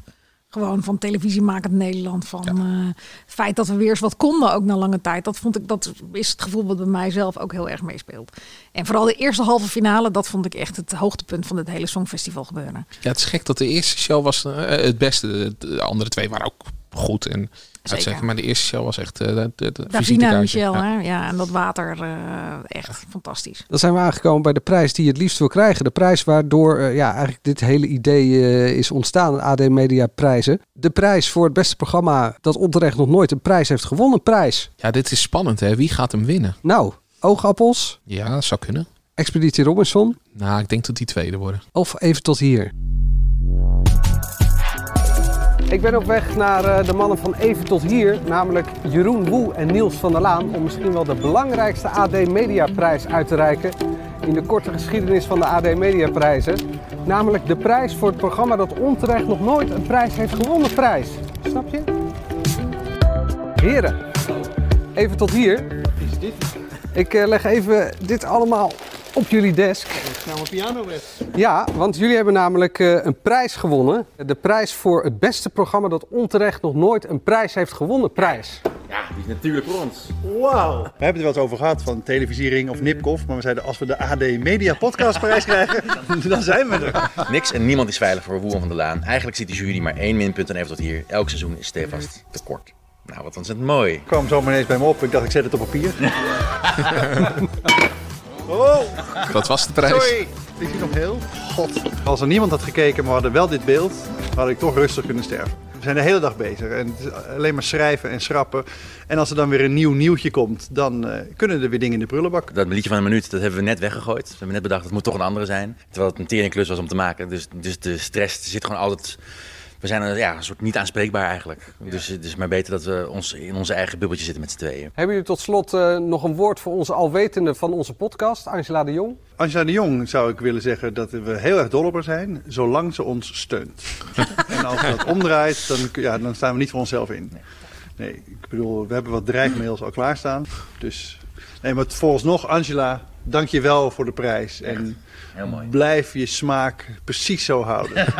[SPEAKER 10] Gewoon van televisiemakend Nederland. Van eh, het feit dat we weer eens wat konden, ook na lange tijd. Dat, vond ik, dat is het gevoel wat bij mijzelf ook heel erg meespeelt. En vooral de eerste halve finale, dat vond ik echt het hoogtepunt van het hele Songfestival gebeuren.
[SPEAKER 3] Ja, het is gek dat de eerste show was eh, het beste. De- De andere twee waren ook goed en uitzeggen. Maar de eerste show was echt eh de, de, de
[SPEAKER 10] Davina en
[SPEAKER 3] visitekaartje.
[SPEAKER 10] nou Michel,
[SPEAKER 3] Ja.
[SPEAKER 10] hè? ja, en dat water, eh, echt fantastisch.
[SPEAKER 2] Dan zijn we aangekomen bij de prijs die je het liefst wil krijgen. De prijs waardoor eh, ja, eigenlijk dit hele idee eh, is ontstaan, de AD Media prijzen. De prijs voor het beste programma dat onterecht nog nooit een prijs heeft gewonnen. Een prijs.
[SPEAKER 3] Ja, dit is spannend hè. Wie gaat hem winnen?
[SPEAKER 2] Nou, oogappels,
[SPEAKER 3] Ja, dat zou kunnen.
[SPEAKER 2] Expeditie Robinson
[SPEAKER 3] Nou, ik denk dat die tweede worden.
[SPEAKER 2] of even tot hier. Ik ben op weg naar eh, de mannen van Even tot hier, namelijk Jeroen Woe en Niels van der Laan, om misschien wel de belangrijkste AD Mediaprijs uit te reiken in de korte geschiedenis van de AD Mediaprijzen. Namelijk de prijs voor het programma dat onterecht nog nooit een prijs heeft gewonnen prijs. Snap je? Heren, even tot hier.
[SPEAKER 28] Is dit
[SPEAKER 2] Ik eh, leg even dit allemaal op jullie desk.
[SPEAKER 28] nou een pianowet?
[SPEAKER 2] Ja, want jullie hebben namelijk eh, een prijs gewonnen. De prijs voor het beste programma dat onterecht nog nooit een prijs heeft gewonnen. Prijs.
[SPEAKER 28] Ja, die is natuurlijk voor ons. Wauw. We hebben er wel eens over gehad van televisiering of Nipkoff. Maar we zeiden als we de AD Media Podcastprijs krijgen, dan zijn we er.
[SPEAKER 29] Niks en niemand is veilig voor Woehan van der Laan. Eigenlijk ziet de jury maar één minpunt en even tot hier. Elk seizoen is stevast te kort. Nou, wat ontzettend mooi.
[SPEAKER 28] Ik kwam zo maar ineens bij me op. Ik dacht, ik zet het op papier. oh.
[SPEAKER 3] Dat was de prijs.
[SPEAKER 28] Sorry. Ik zie nog heel. God. Als er niemand had gekeken, maar we hadden wel dit beeld, had ik toch rustig kunnen sterven. We zijn de hele dag bezig en het is alleen maar schrijven en schrappen. En als er dan weer een nieuw nieuwtje komt, dan eh, kunnen er weer dingen in de prullenbak.
[SPEAKER 29] Dat liedje van een minuut, dat hebben we net weggegooid. We hebben net bedacht, het moet toch een andere zijn. Terwijl het een teringklus was om te maken. Dus, dus de stress zit gewoon altijd... We zijn eh, ja, een soort niet aanspreekbaar eigenlijk. Dus het is maar beter dat we ons in onze eigen bubbeltje zitten met z'n tweeën.
[SPEAKER 2] Hebben jullie tot slot eh, nog een woord voor onze alwetende van onze podcast, Angela de Jong?
[SPEAKER 28] Angela de Jong zou ik willen zeggen dat we heel erg dol op haar zijn, zolang ze ons steunt. en als dat omdraait, dan, ja, dan staan we niet voor onszelf in. Nee, ik bedoel, we hebben wat dreigmails al klaarstaan. Dus, nee, maar vooralsnog, Angela, dank je wel voor de prijs. En blijf je smaak precies zo houden.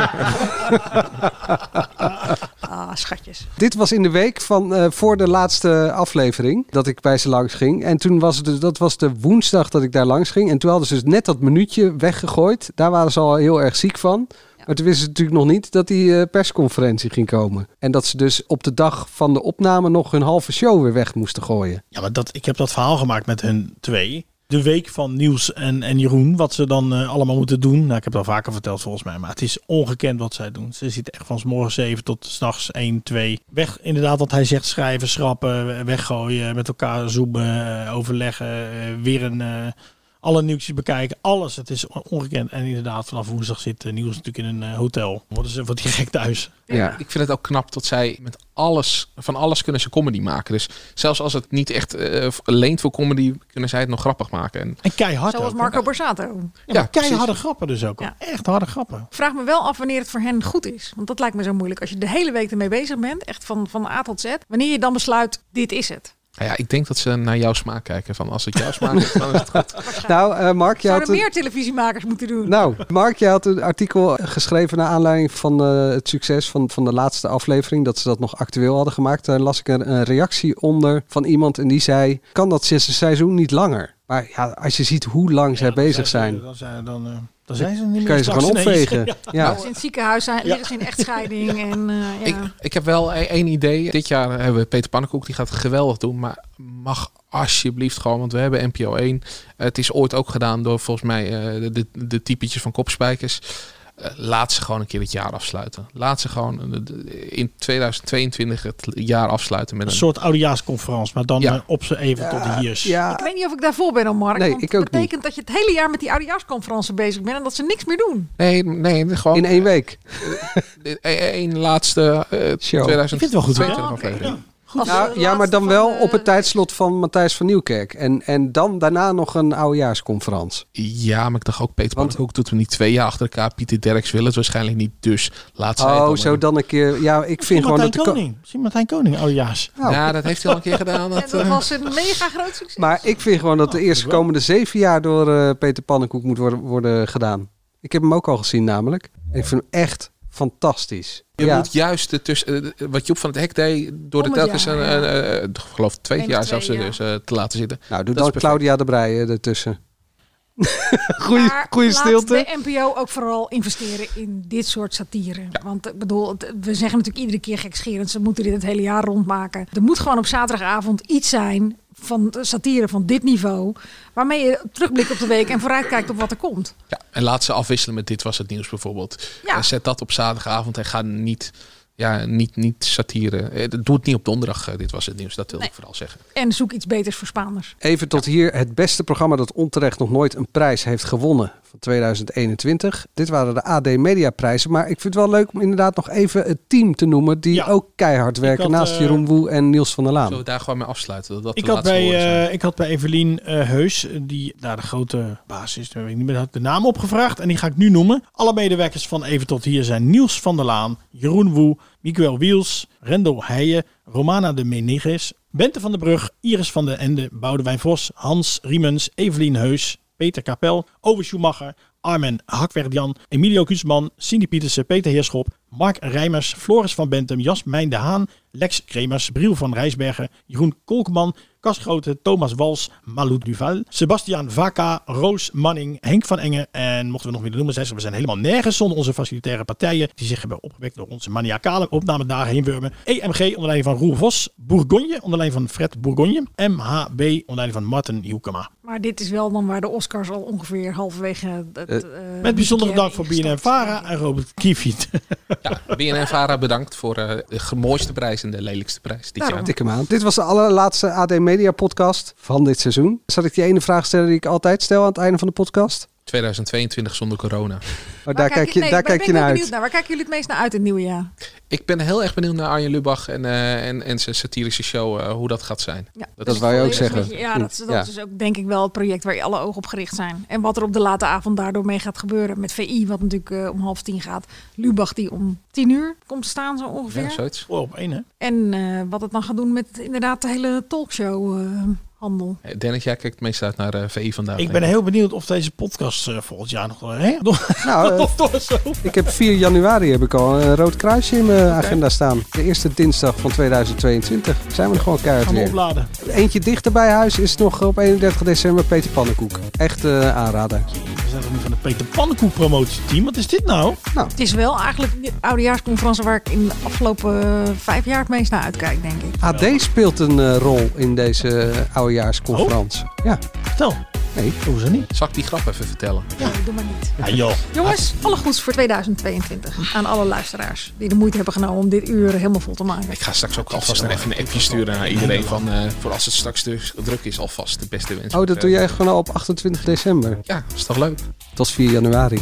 [SPEAKER 10] Ah, schatjes.
[SPEAKER 2] Dit was in de week van eh, voor de laatste aflevering dat ik bij ze langs ging. En toen was het, dus- dat was de woensdag dat ik daar langs ging. En toen hadden ze dus net dat minuutje weggegooid. Daar waren ze al heel erg ziek van. Maar toen wisten ze natuurlijk nog niet dat die eh, persconferentie ging komen. En dat ze dus op de dag van de opname nog hun halve show weer weg moesten gooien.
[SPEAKER 11] Ja, maar dat, ik heb dat verhaal gemaakt met hun twee. De week van Niels en, en Jeroen, wat ze dan eh, allemaal moeten doen. Nou, ik heb dat vaker verteld volgens mij, maar het is ongekend wat zij doen. Ze zitten echt van s morgens 7 tot s'nachts 1, 2. Weg, inderdaad, wat hij zegt, schrijven, schrappen, weggooien, met elkaar zoemen, eh, overleggen. eh, Weer een eh, alle nieuwsjes bekijken. Alles. Het is ongekend. En inderdaad, vanaf woensdag zit eh, Niels natuurlijk in een eh, hotel. Worden ze wat gek thuis.
[SPEAKER 3] Ja. Ik vind het ook knap dat zij met alles, van alles kunnen ze comedy maken. Dus zelfs als het niet echt eh, leent voor comedy, kunnen zij het nog grappig maken. En
[SPEAKER 11] En keihard
[SPEAKER 10] Zoals
[SPEAKER 11] ook, hè?
[SPEAKER 10] Marco Borsato.
[SPEAKER 11] Ja, maar keiharde
[SPEAKER 3] precies.
[SPEAKER 11] grappen dus ook.
[SPEAKER 10] Ja.
[SPEAKER 11] Echt harde grappen.
[SPEAKER 10] Ik vraag me wel af wanneer het voor hen goed is. Want dat lijkt me zo moeilijk. Als je de hele week ermee bezig bent, echt van, van A tot Z. Wanneer je dan besluit, dit is het.
[SPEAKER 3] Nou ja, ik denk dat ze naar jouw smaak kijken. Van als het jouw smaak is, dan is het goed.
[SPEAKER 2] Nou, eh, Mark, je had
[SPEAKER 10] Zouden
[SPEAKER 2] een-
[SPEAKER 10] meer televisiemakers moeten doen.
[SPEAKER 2] Nou, Mark, je had een artikel geschreven naar aanleiding van eh, het succes van, van de laatste aflevering. Dat ze dat nog actueel hadden gemaakt. Daar las ik een, een reactie onder van iemand en die zei... Kan dat zesde seizoen niet langer? Maar ja, als je ziet hoe lang zij bezig zijn...
[SPEAKER 11] Dan zijn, dan, eh, dan zijn ze niet meer
[SPEAKER 2] Kan je ze
[SPEAKER 11] straks
[SPEAKER 2] gewoon
[SPEAKER 11] ineens.
[SPEAKER 2] opvegen.
[SPEAKER 11] Ja.
[SPEAKER 2] Ja.
[SPEAKER 10] Als ze in het ziekenhuis zijn, liggen ze in echtscheiding. En, eh, ja.
[SPEAKER 3] Ik heb wel e- één idee. Dit jaar hebben we Peter Pannenkoek. Die gaat het geweldig doen. Maar mag alsjeblieft gewoon. Want we hebben NPO 1. Het is ooit ook gedaan door volgens mij eh, de, de, de typetjes van kopspijkers. Eh, laat ze gewoon een keer het jaar afsluiten. Laat ze gewoon eh, de- in 2022 het jaar afsluiten met
[SPEAKER 11] Een
[SPEAKER 3] een...
[SPEAKER 11] soort oudejaarsconferentie, maar dan
[SPEAKER 3] Ja.
[SPEAKER 11] eh, op ze even tot de hiers.
[SPEAKER 10] Ik weet niet of ik daarvoor ben, al Mark.
[SPEAKER 3] Nee,
[SPEAKER 10] want
[SPEAKER 3] ik ook
[SPEAKER 10] het betekent dat je het hele jaar met die oudejaarsconferentie bezig bent en dat ze niks meer doen.
[SPEAKER 3] Nee, nee, gewoon... eh, In
[SPEAKER 2] één week.
[SPEAKER 3] Eén laatste eh
[SPEAKER 2] Ik vind het wel goed, hoor.
[SPEAKER 3] 2022 aflevering.
[SPEAKER 10] Goed.
[SPEAKER 2] Nou, ja, maar dan wel op het tijdslot van Matthijs van Nieuwkerk. En, en dan daarna nog een oudejaarsconferentie.
[SPEAKER 3] Ja, maar ik dacht ook, Peter Pannenkoek doet hem niet twee jaar achter elkaar. Pieter Derks wil het waarschijnlijk niet, dus laat zij het
[SPEAKER 2] Oh,
[SPEAKER 3] dan
[SPEAKER 2] zo
[SPEAKER 3] maar.
[SPEAKER 2] dan een keer. Ja, ik vind gewoon dat
[SPEAKER 11] Martijn
[SPEAKER 2] de ko-
[SPEAKER 11] Koning. Misschien Martijn Koning, oudejaars.
[SPEAKER 3] Ja, dat eh, Oh, heeft hij al een keer gedaan.
[SPEAKER 10] En dat was een mega groot succes.
[SPEAKER 2] Maar ik vind gewoon dat de eerste komende zeven jaar door eh, Peter Pannenkoek moet worden, worden gedaan. Ik heb hem ook al gezien namelijk. En ik vind hem echt fantastisch.
[SPEAKER 3] Je
[SPEAKER 2] ja.
[SPEAKER 3] moet juist de tussen, eh, wat Joep van het Hek deed, door de
[SPEAKER 2] Om het
[SPEAKER 3] telkens
[SPEAKER 2] jaar,
[SPEAKER 3] een,
[SPEAKER 2] ja.
[SPEAKER 3] een, eh, ik geloof twee
[SPEAKER 2] Eén of
[SPEAKER 3] jaar
[SPEAKER 2] twee,
[SPEAKER 3] zelfs eh,
[SPEAKER 2] ja.
[SPEAKER 3] dus, eh, te laten zitten.
[SPEAKER 2] Nou, doe
[SPEAKER 3] Dat is
[SPEAKER 2] dan
[SPEAKER 3] perfect.
[SPEAKER 2] Claudia de Breijen ertussen. goeie
[SPEAKER 10] Maar
[SPEAKER 2] goeie
[SPEAKER 10] laat
[SPEAKER 2] stilte.
[SPEAKER 10] de NPO ook vooral investeren in dit soort satire. Want ik bedoel, het- we zeggen natuurlijk iedere keer gekscherend... ze moeten dit het hele jaar rondmaken. Er moet gewoon op zaterdagavond iets zijn van de satire van dit niveau... waarmee je terugblikt op de week en vooruitkijkt op wat er komt.
[SPEAKER 3] En laat ze afwisselen met dit was het nieuws bijvoorbeeld.
[SPEAKER 10] Ja.
[SPEAKER 3] En zet dat op zaterdagavond en ga niet, ja, niet, niet satire. Eh, Doe het niet op donderdag, eh, dit was het nieuws. Dat wil ik vooral zeggen.
[SPEAKER 10] En zoek iets beters voor Spaanders.
[SPEAKER 2] Even tot hier het beste programma dat onterecht nog nooit een prijs heeft gewonnen van 2021. Dit waren de AD Media prijzen, maar ik vind het wel leuk om inderdaad nog even het team te noemen die ook keihard werken
[SPEAKER 11] had,
[SPEAKER 2] naast
[SPEAKER 11] eh,
[SPEAKER 2] Jeroen Woe en Niels van der Laan.
[SPEAKER 3] Zullen we daar gewoon mee afsluiten? Dat dat
[SPEAKER 11] Ik
[SPEAKER 3] de
[SPEAKER 11] had,
[SPEAKER 3] laatste
[SPEAKER 11] bij,
[SPEAKER 3] woorden zijn.
[SPEAKER 11] eh, ik had bij Evelien eh, Heus, eh, die daar de grote baas is, daar weet ik niet meer, had ik de naam opgevraagd en die ga ik nu noemen. Alle medewerkers van Even Tot Hier zijn Niels van der Laan, Jeroen Woe, Miguel Wiels, Rendel Heijen, Romana de Meniges, Bente van der Brug, Iris van der Ende, Boudewijn Vos, Hans Riemens, Evelien Heus, Peter Kapel, Ove Schumacher, Armen Hakwerdian, Emilio Kuusman, Cindy Pietersen, Peter Heerschop, Mark Rijmers, Floris van Bentum, Jasmijn de Haan, Lex Kremers, Briel van Rijsbergen, Jeroen Kolkman, Cas Grote, Thomas Wals, Malou Duval, Sebastian Vaca, Roos Manning, Henk van Engen en mochten we nog willen noemen, zijn ze, we zijn helemaal nergens zonder onze facilitaire partijen die zich hebben opgewekt door onze maniacale opnamedagen heen wurmen. EMG onder leiding van Roel Vos, Bourgogne onder leiding van Fred Bourgogne, MHB onder leiding van Martin Hielkema.
[SPEAKER 10] Maar dit is wel dan waar de Oscars al ongeveer halverwege... Het,
[SPEAKER 11] Eh,
[SPEAKER 10] eh,
[SPEAKER 11] Met bijzondere dank
[SPEAKER 10] weekend
[SPEAKER 11] voor
[SPEAKER 10] ingestapt
[SPEAKER 11] BNN Vara en Robert Kiefiet.
[SPEAKER 3] BNN Vara bedankt voor eh, de mooiste prijs en de lelijkste prijs dit jaar.
[SPEAKER 2] Dikke maand. Dit was de allerlaatste AD Media podcast van dit seizoen. Zal ik die ene vraag stellen die ik altijd stel aan het einde van de podcast?
[SPEAKER 3] 2022 zonder corona.
[SPEAKER 2] Maar daar kijk je,
[SPEAKER 10] nee,
[SPEAKER 2] daar kijk
[SPEAKER 10] ben
[SPEAKER 2] je
[SPEAKER 10] ik wel
[SPEAKER 2] naar
[SPEAKER 10] benieuwd
[SPEAKER 2] uit.
[SPEAKER 10] Naar. Waar kijken jullie het meest naar uit in het nieuwe jaar?
[SPEAKER 3] Ik ben heel erg benieuwd naar Arjen Lubach en, eh, en, en zijn satirische show, eh, hoe dat gaat zijn.
[SPEAKER 2] dat wou je ook zeggen.
[SPEAKER 10] Weet je, Ja, dat, is- dat
[SPEAKER 3] Ja.
[SPEAKER 10] is ook denk ik wel het project waar je alle ogen op gericht zijn. En wat er op de late avond daardoor mee gaat gebeuren. Met VI, wat natuurlijk eh, om half tien gaat. Lubach die om tien uur komt staan zo ongeveer.
[SPEAKER 3] Ja, zoiets.
[SPEAKER 11] Oh, op één hè?
[SPEAKER 10] en eh, wat het dan gaat doen met inderdaad de hele talkshow eh, handel.
[SPEAKER 3] Eh, Dennis, jij kijkt het meest uit naar eh, VI vandaag.
[SPEAKER 11] Ik
[SPEAKER 3] denk
[SPEAKER 11] ben heel benieuwd of deze podcast eh, volgend jaar nog... Hè?
[SPEAKER 2] Nou, eh,
[SPEAKER 11] zo.
[SPEAKER 2] Ik heb 4 januari heb ik al een rood kruisje in mijn agenda staan. De eerste dinsdag van 2022 zijn we er gewoon keihard
[SPEAKER 11] Gaan we
[SPEAKER 2] weer.
[SPEAKER 11] opladen.
[SPEAKER 2] Eentje dichter bij huis is nog op 31 december Peter Pannenkoek. Echt eh, aanrader.
[SPEAKER 11] We zijn toch niet van de Peter Pannenkoek promotieteam? Wat is dit nou?
[SPEAKER 10] Het is wel eigenlijk de oudejaarsconferentie waar ik in de afgelopen eh, vijf jaar het meest naar uitkijk, denk ik.
[SPEAKER 11] Oh.
[SPEAKER 2] AD speelt een eh, rol in deze eh, oudejaarsconferentie. Ja.
[SPEAKER 11] Vertel. Nee, doen ze niet.
[SPEAKER 3] Zal ik die grap even vertellen?
[SPEAKER 10] Ja, doe maar niet.
[SPEAKER 11] Ja, joh.
[SPEAKER 10] Jongens, alle goeds voor 2022 aan alle luisteraars die de moeite hebben genomen om dit uur helemaal vol te maken.
[SPEAKER 3] Ik ga straks ook alvast nog even een appje sturen naar iedereen. Van, eh, voor als het straks dus druk is, alvast de beste eh, wensen.
[SPEAKER 2] Oh, dat doe jij gewoon al op 28 december.
[SPEAKER 3] Ja, is toch leuk?
[SPEAKER 2] Dat is 4 januari.